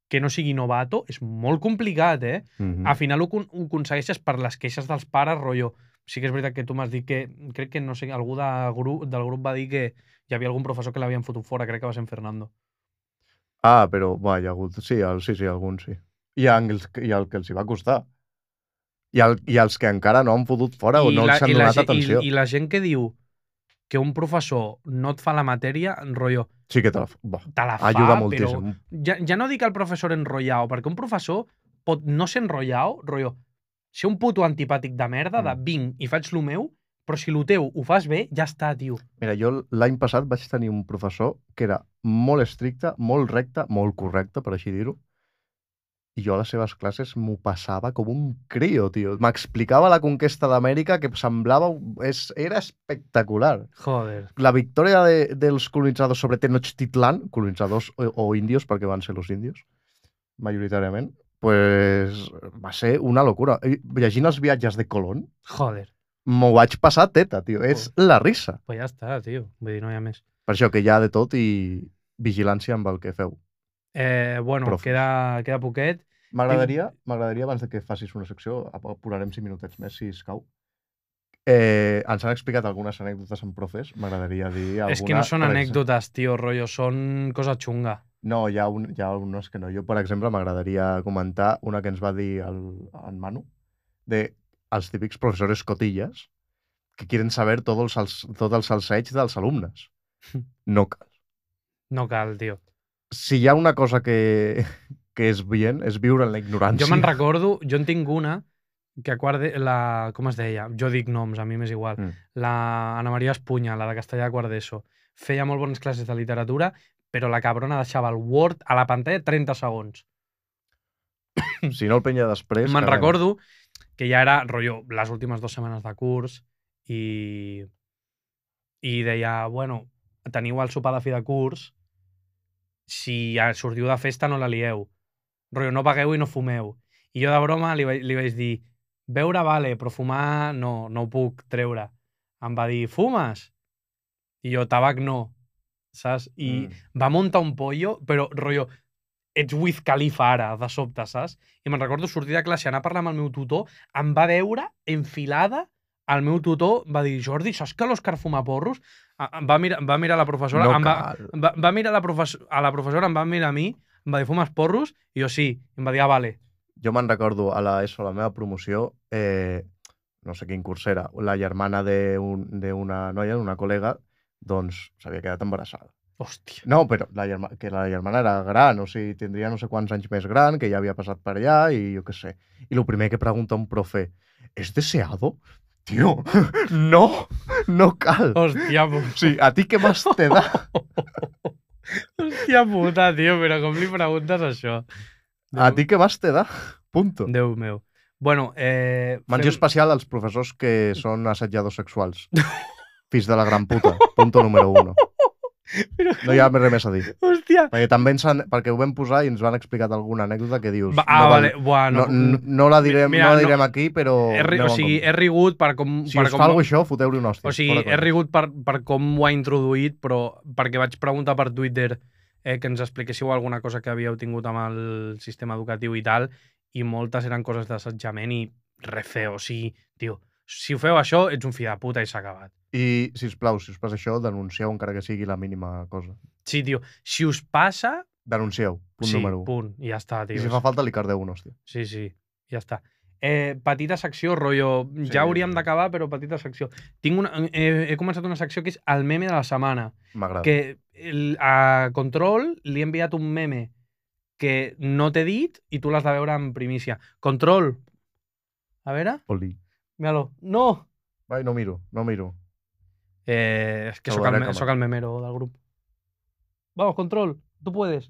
Speaker 1: que no sigui novato és molt complicat, eh?
Speaker 2: Mm
Speaker 1: Al final ho, con- ho aconsegueixes per les queixes dels pares, rotllo. Sí que és veritat que tu m'has dit que, crec que no sé, algú de grup, del grup va dir que hi havia algun professor que l'havien fotut fora, crec que va ser en Fernando.
Speaker 2: Ah, però va, hi ha hagut... Sí, el, sí, sí, alguns sí. Hi ha els, que- hi ha el que els hi va costar. Hi ha, el, hi ha els que encara no han fotut fora o no els han
Speaker 1: i la
Speaker 2: donat
Speaker 1: ge-
Speaker 2: atenció.
Speaker 1: I, I la gent que diu que un professor no et fa la matèria, rotllo,
Speaker 2: Sí que te la... fa- Va,
Speaker 1: te la fa,
Speaker 2: ajuda
Speaker 1: però...
Speaker 2: moltíssim.
Speaker 1: Ja, ja no dic el professor enrotllao, perquè un professor pot no ser enrotllao, rotllo, ser un puto antipàtic de merda, de
Speaker 2: Mm.
Speaker 1: vinc i faig lo meu, però si lo teu ho fas bé, ja està, tio.
Speaker 2: Mira, jo l'any passat vaig tenir un professor que era molt estricte, molt recte, molt correcte, per així dir-ho, i jo a les seves classes m'ho passava com un crio, tio. M'explicava la conquesta d'Amèrica que semblava... És, era espectacular.
Speaker 1: Joder.
Speaker 2: la victoria de, dels colonitzadors sobre Tenochtitlán, colonitzadors o, o índios, perquè van ser los índios, majoritàriament, pues, va ser una locura. I Llegint els viatges de Colón,
Speaker 1: Joder.
Speaker 2: m'ho vaig passar teta, tio. És la risa.
Speaker 1: Pues ja està, tio. Vull dir, no hi ha més.
Speaker 2: Per això que hi ha de tot i vigilància amb el que feu.
Speaker 1: Eh, bueno,
Speaker 2: Profes.
Speaker 1: queda, queda poquet.
Speaker 2: M'agradaria, m'agradaria abans de que facis una secció, ap- apurarem 5 minutets més, si escau. Eh, ens han explicat algunes anècdotes amb profes, m'agradaria dir alguna...
Speaker 1: És que no són
Speaker 2: per exemple.
Speaker 1: anècdotes, tio, rotllo, són cosa xunga.
Speaker 2: No, hi ha, un, hi ha unes que no. Jo, per exemple, m'agradaria comentar una que ens va dir el, en Manu, de els típics professors cotilles que quieren saber tot el, sals, tot el salseig dels alumnes. No cal.
Speaker 1: No cal, tio.
Speaker 2: Si hi ha una cosa que, que és bien, és viure en la ignorància.
Speaker 1: Jo me'n recordo, jo en tinc una que a quart de... La, com es deia? Jo dic noms, a mi m'és igual.
Speaker 2: Mm.
Speaker 1: Mm. La Ana Maria Espunya, la de castellà a quart d'ESO. Feia molt bones classes de literatura, però la cabrona deixava el Word a la pantalla 30 segons.
Speaker 2: Si no el penya després... eh,
Speaker 1: Me'n
Speaker 2: caguem.
Speaker 1: recordo que ja era, rotllo, les últimes dues setmanes de curs i... I deia, bueno, teniu el sopar de fi de curs, si ja sortiu de festa no la lieu. Rotllo, no pagueu i no fumeu. I jo de broma li, vaig- li vaig dir, beure vale, però fumar no, no ho puc treure. Em va dir, fumes? I jo, tabac no, saps? I,
Speaker 2: Mm.
Speaker 1: va muntar un pollo, però, rotllo, ets Wiz Khalifa ara, de sobte, saps? I me'n recordo sortir de classe, anar a parlar amb el meu tutor, em va veure enfilada, el meu tutor va dir, Jordi, saps que l'Òscar fuma porros? A- Em va mirar, va mirar la professora,
Speaker 2: No
Speaker 1: em va,
Speaker 2: cal.
Speaker 1: va, va mirar la professora, a la professora, em va mirar a mi, em va dir, fumes porros? I jo, sí. I em va dir, ah, vale.
Speaker 2: jo me'n recordo a la ESO, a la meva promoció, eh, no sé quin curs era, la germana d'una un, de una noia, d'una col·lega, doncs s'havia quedat embarassada.
Speaker 1: Hòstia.
Speaker 2: No, però la germa, que la germana era gran, o sigui, tindria no sé quants anys més gran, que ja havia passat per allà i jo què sé. I el primer que pregunta un profe, ¿es deseado? Tio, no, no cal.
Speaker 1: Hòstia, pu-
Speaker 2: O sigui, a ti què més te da?
Speaker 1: hòstia puta, tio, però com li preguntes això?
Speaker 2: A ti què més te da? Punto.
Speaker 1: Déu meu. Bueno, eh...
Speaker 2: Menció especial als professors que són assetjadors sexuals. Fills de la gran puta. Punto número uno.
Speaker 1: Però-
Speaker 2: No hi ha res més a dir.
Speaker 1: Hòstia!
Speaker 2: Perquè també ens han, perquè ho vam posar i ens van explicar alguna anècdota que dius...
Speaker 1: Va, ah,
Speaker 2: no val-
Speaker 1: vale, bueno.
Speaker 2: No, no, no, la direm,
Speaker 1: Mira,
Speaker 2: no
Speaker 1: no-
Speaker 2: la direm aquí, però...
Speaker 1: he, ri-
Speaker 2: aneu
Speaker 1: o
Speaker 2: en
Speaker 1: sigui,
Speaker 2: compte.
Speaker 1: he rigut per com...
Speaker 2: si
Speaker 1: per
Speaker 2: us
Speaker 1: com
Speaker 2: fa alguna això, foteu-li un hòstia.
Speaker 1: O sigui, he rigut per, per com ho ha introduït, però perquè vaig preguntar per Twitter eh, que ens expliquéssiu alguna cosa que havíeu tingut amb el sistema educatiu i tal, i moltes eren coses d'assetjament i re feo. O sigui, tio, si ho feu això, ets un fill de puta i s'ha acabat.
Speaker 2: I, sisplau, si us passa això, denuncieu encara que sigui la mínima cosa.
Speaker 1: Sí, tio, si us passa...
Speaker 2: Denuncieu, punt
Speaker 1: sí,
Speaker 2: número 1.
Speaker 1: punt, ja està, tio.
Speaker 2: I si fa falta, li cardeu un hòstia.
Speaker 1: Sí, sí, ja està. Eh, petita secció, rotllo...
Speaker 2: Sí,
Speaker 1: ja hauríem
Speaker 2: sí.
Speaker 1: d'acabar, però petita secció. Tinc una, eh, he començat una secció que és el meme de la setmana.
Speaker 2: M'agrada.
Speaker 1: que el, a Control li he enviat un meme que no t'he dit i tu l'has de veure en primícia. Control. A veure,
Speaker 2: Oli.
Speaker 1: míralo. No!
Speaker 2: Vai, no miro, no miro.
Speaker 1: Eh, és que
Speaker 2: Te
Speaker 1: sóc
Speaker 2: lo
Speaker 1: el,
Speaker 2: daré a
Speaker 1: me-
Speaker 2: cámara.
Speaker 1: sóc el memero del grup. Vamos, Control, tu puedes.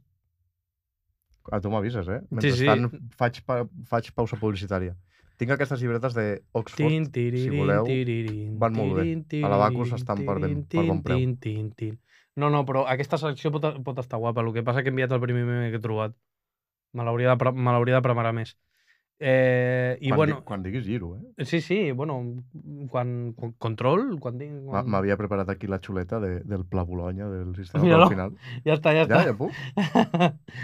Speaker 2: A tu m'avises, eh? Mentrestant sí, sí. Faig, pa, faig pausa publicitària. Tinc aquestes llibretes de Oxford.
Speaker 1: Tin, tiririn,
Speaker 2: voleu,
Speaker 1: tiririn,
Speaker 2: van molt bé.
Speaker 1: tirin,
Speaker 2: A l'Abacus
Speaker 1: tiririn,
Speaker 2: estan per ben- per
Speaker 1: tirin,
Speaker 2: bon preu.
Speaker 1: tin, tin, tin. No, no, però aquesta selecció pot, pot estar guapa. El que passa que he enviat el primer meme que he trobat. Me l'hauria de, pre- me l'hauria de preparar més. Eh, I
Speaker 2: quan,
Speaker 1: bueno,
Speaker 2: di, quan diguis giro, eh?
Speaker 1: Sí, sí, bueno, quan, quan control, quan tinc...
Speaker 2: Ma-
Speaker 1: Quan...
Speaker 2: M'havia preparat aquí la xuleta de, del Pla Bologna, del sistema
Speaker 1: Míralo.
Speaker 2: Míralo. al final.
Speaker 1: Ja està, ja
Speaker 2: Ja,
Speaker 1: està.
Speaker 2: ja puc?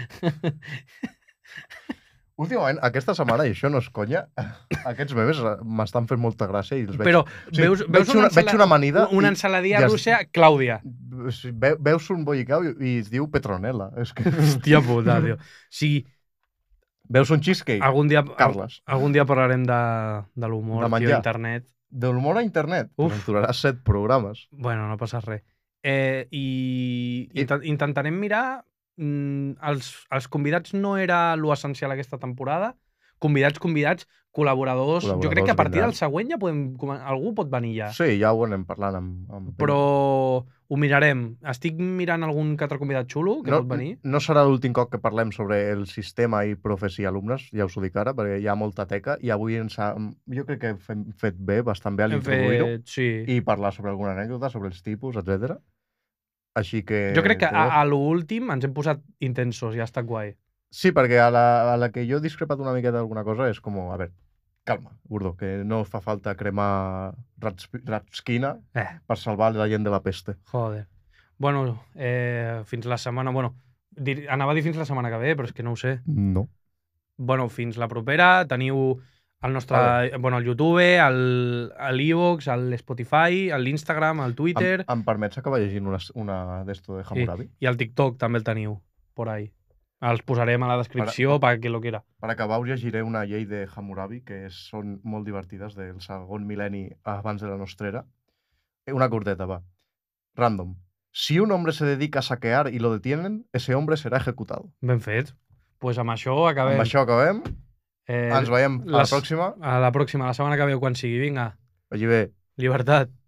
Speaker 2: Últimament, aquesta setmana, i això no és conya, aquests memes eh, m'estan fent molta gràcia i els Doncs veig...
Speaker 1: Però
Speaker 2: Sí,
Speaker 1: veus, veus
Speaker 2: una,
Speaker 1: una,
Speaker 2: veig una amanida
Speaker 1: una
Speaker 2: i
Speaker 1: ensaladilla
Speaker 2: ja es-
Speaker 1: russa, Clàudia.
Speaker 2: sí, ve, veus un bollicau i, i es diu Petronella. És que...
Speaker 1: Hòstia puta, tio. Sí,
Speaker 2: Veus un cheesecake,
Speaker 1: algun dia, al,
Speaker 2: Carles.
Speaker 1: algun dia parlarem de, de l'humor,
Speaker 2: De
Speaker 1: tio,
Speaker 2: menjar.
Speaker 1: internet.
Speaker 2: De l'humor a internet.
Speaker 1: Uf.
Speaker 2: Ens durarà set programes.
Speaker 1: Bueno, no passa res. Eh, I
Speaker 2: I-
Speaker 1: inten- intentarem mirar... Mm, els, els convidats no era lo essencial aquesta temporada. Convidats, convidats, col·laboradors... jo crec que a
Speaker 2: Col·laboradors
Speaker 1: partir del
Speaker 2: vindran.
Speaker 1: següent ja podem... comen- Algú pot venir ja.
Speaker 2: Sí, ja ho anem parlant amb... amb
Speaker 1: però ho mirarem. Estic mirant algun que altre convidat xulo que no, pot venir.
Speaker 2: No serà l'últim cop que parlem sobre el sistema i profes i alumnes, ja us ho dic ara, perquè hi ha molta teca, i avui ens ha, jo crec que hem fet bé, bastant bé, a
Speaker 1: Hem
Speaker 2: l'introduir-ho,
Speaker 1: fet- Sí.
Speaker 2: i parlar sobre alguna anècdota, sobre els tipus, etc. Així que...
Speaker 1: Jo crec que a,
Speaker 2: podeu-
Speaker 1: a l'últim ens hem posat intensos i ha estat guai.
Speaker 2: Sí, perquè a la, a la que jo he discrepat una miqueta d'alguna cosa és com, a veure, calma, Gordó, que no fa falta cremar rats, ratsquina
Speaker 1: Eh,
Speaker 2: per salvar la gent de la peste.
Speaker 1: joder. Bueno, eh, fins la setmana... Bueno, dir, anava a dir fins la setmana que ve, però és que no ho sé.
Speaker 2: No.
Speaker 1: Bueno, fins la propera. Teniu el nostre...
Speaker 2: Vale.
Speaker 1: Bueno, el YouTube, el- a l'Evox, a l'Spotify, a l'Instagram, al Twitter
Speaker 2: Em, em permets acabar llegint una, una d'esto de Hammurabi?
Speaker 1: i al TikTok també el teniu, por ahí. Els posarem a la descripció per qui lo quiera.
Speaker 2: Per acabar, us llegiré una llei de Hammurabi que és, són molt divertides del segon mil·lenni abans de la nostra era. Eh, Una corteta, va. Random. Si un hombre se dedica a saquear y lo detienen, ese hombre será ejecutado.
Speaker 1: Ben fet. Pues amb això acabem.
Speaker 2: Amb això acabem.
Speaker 1: Eh,
Speaker 2: Ens veiem a la
Speaker 1: les-
Speaker 2: pròxima.
Speaker 1: A la pròxima, la setmana que veu, quan sigui. Vinga,
Speaker 2: Vagi bé.
Speaker 1: llibertat.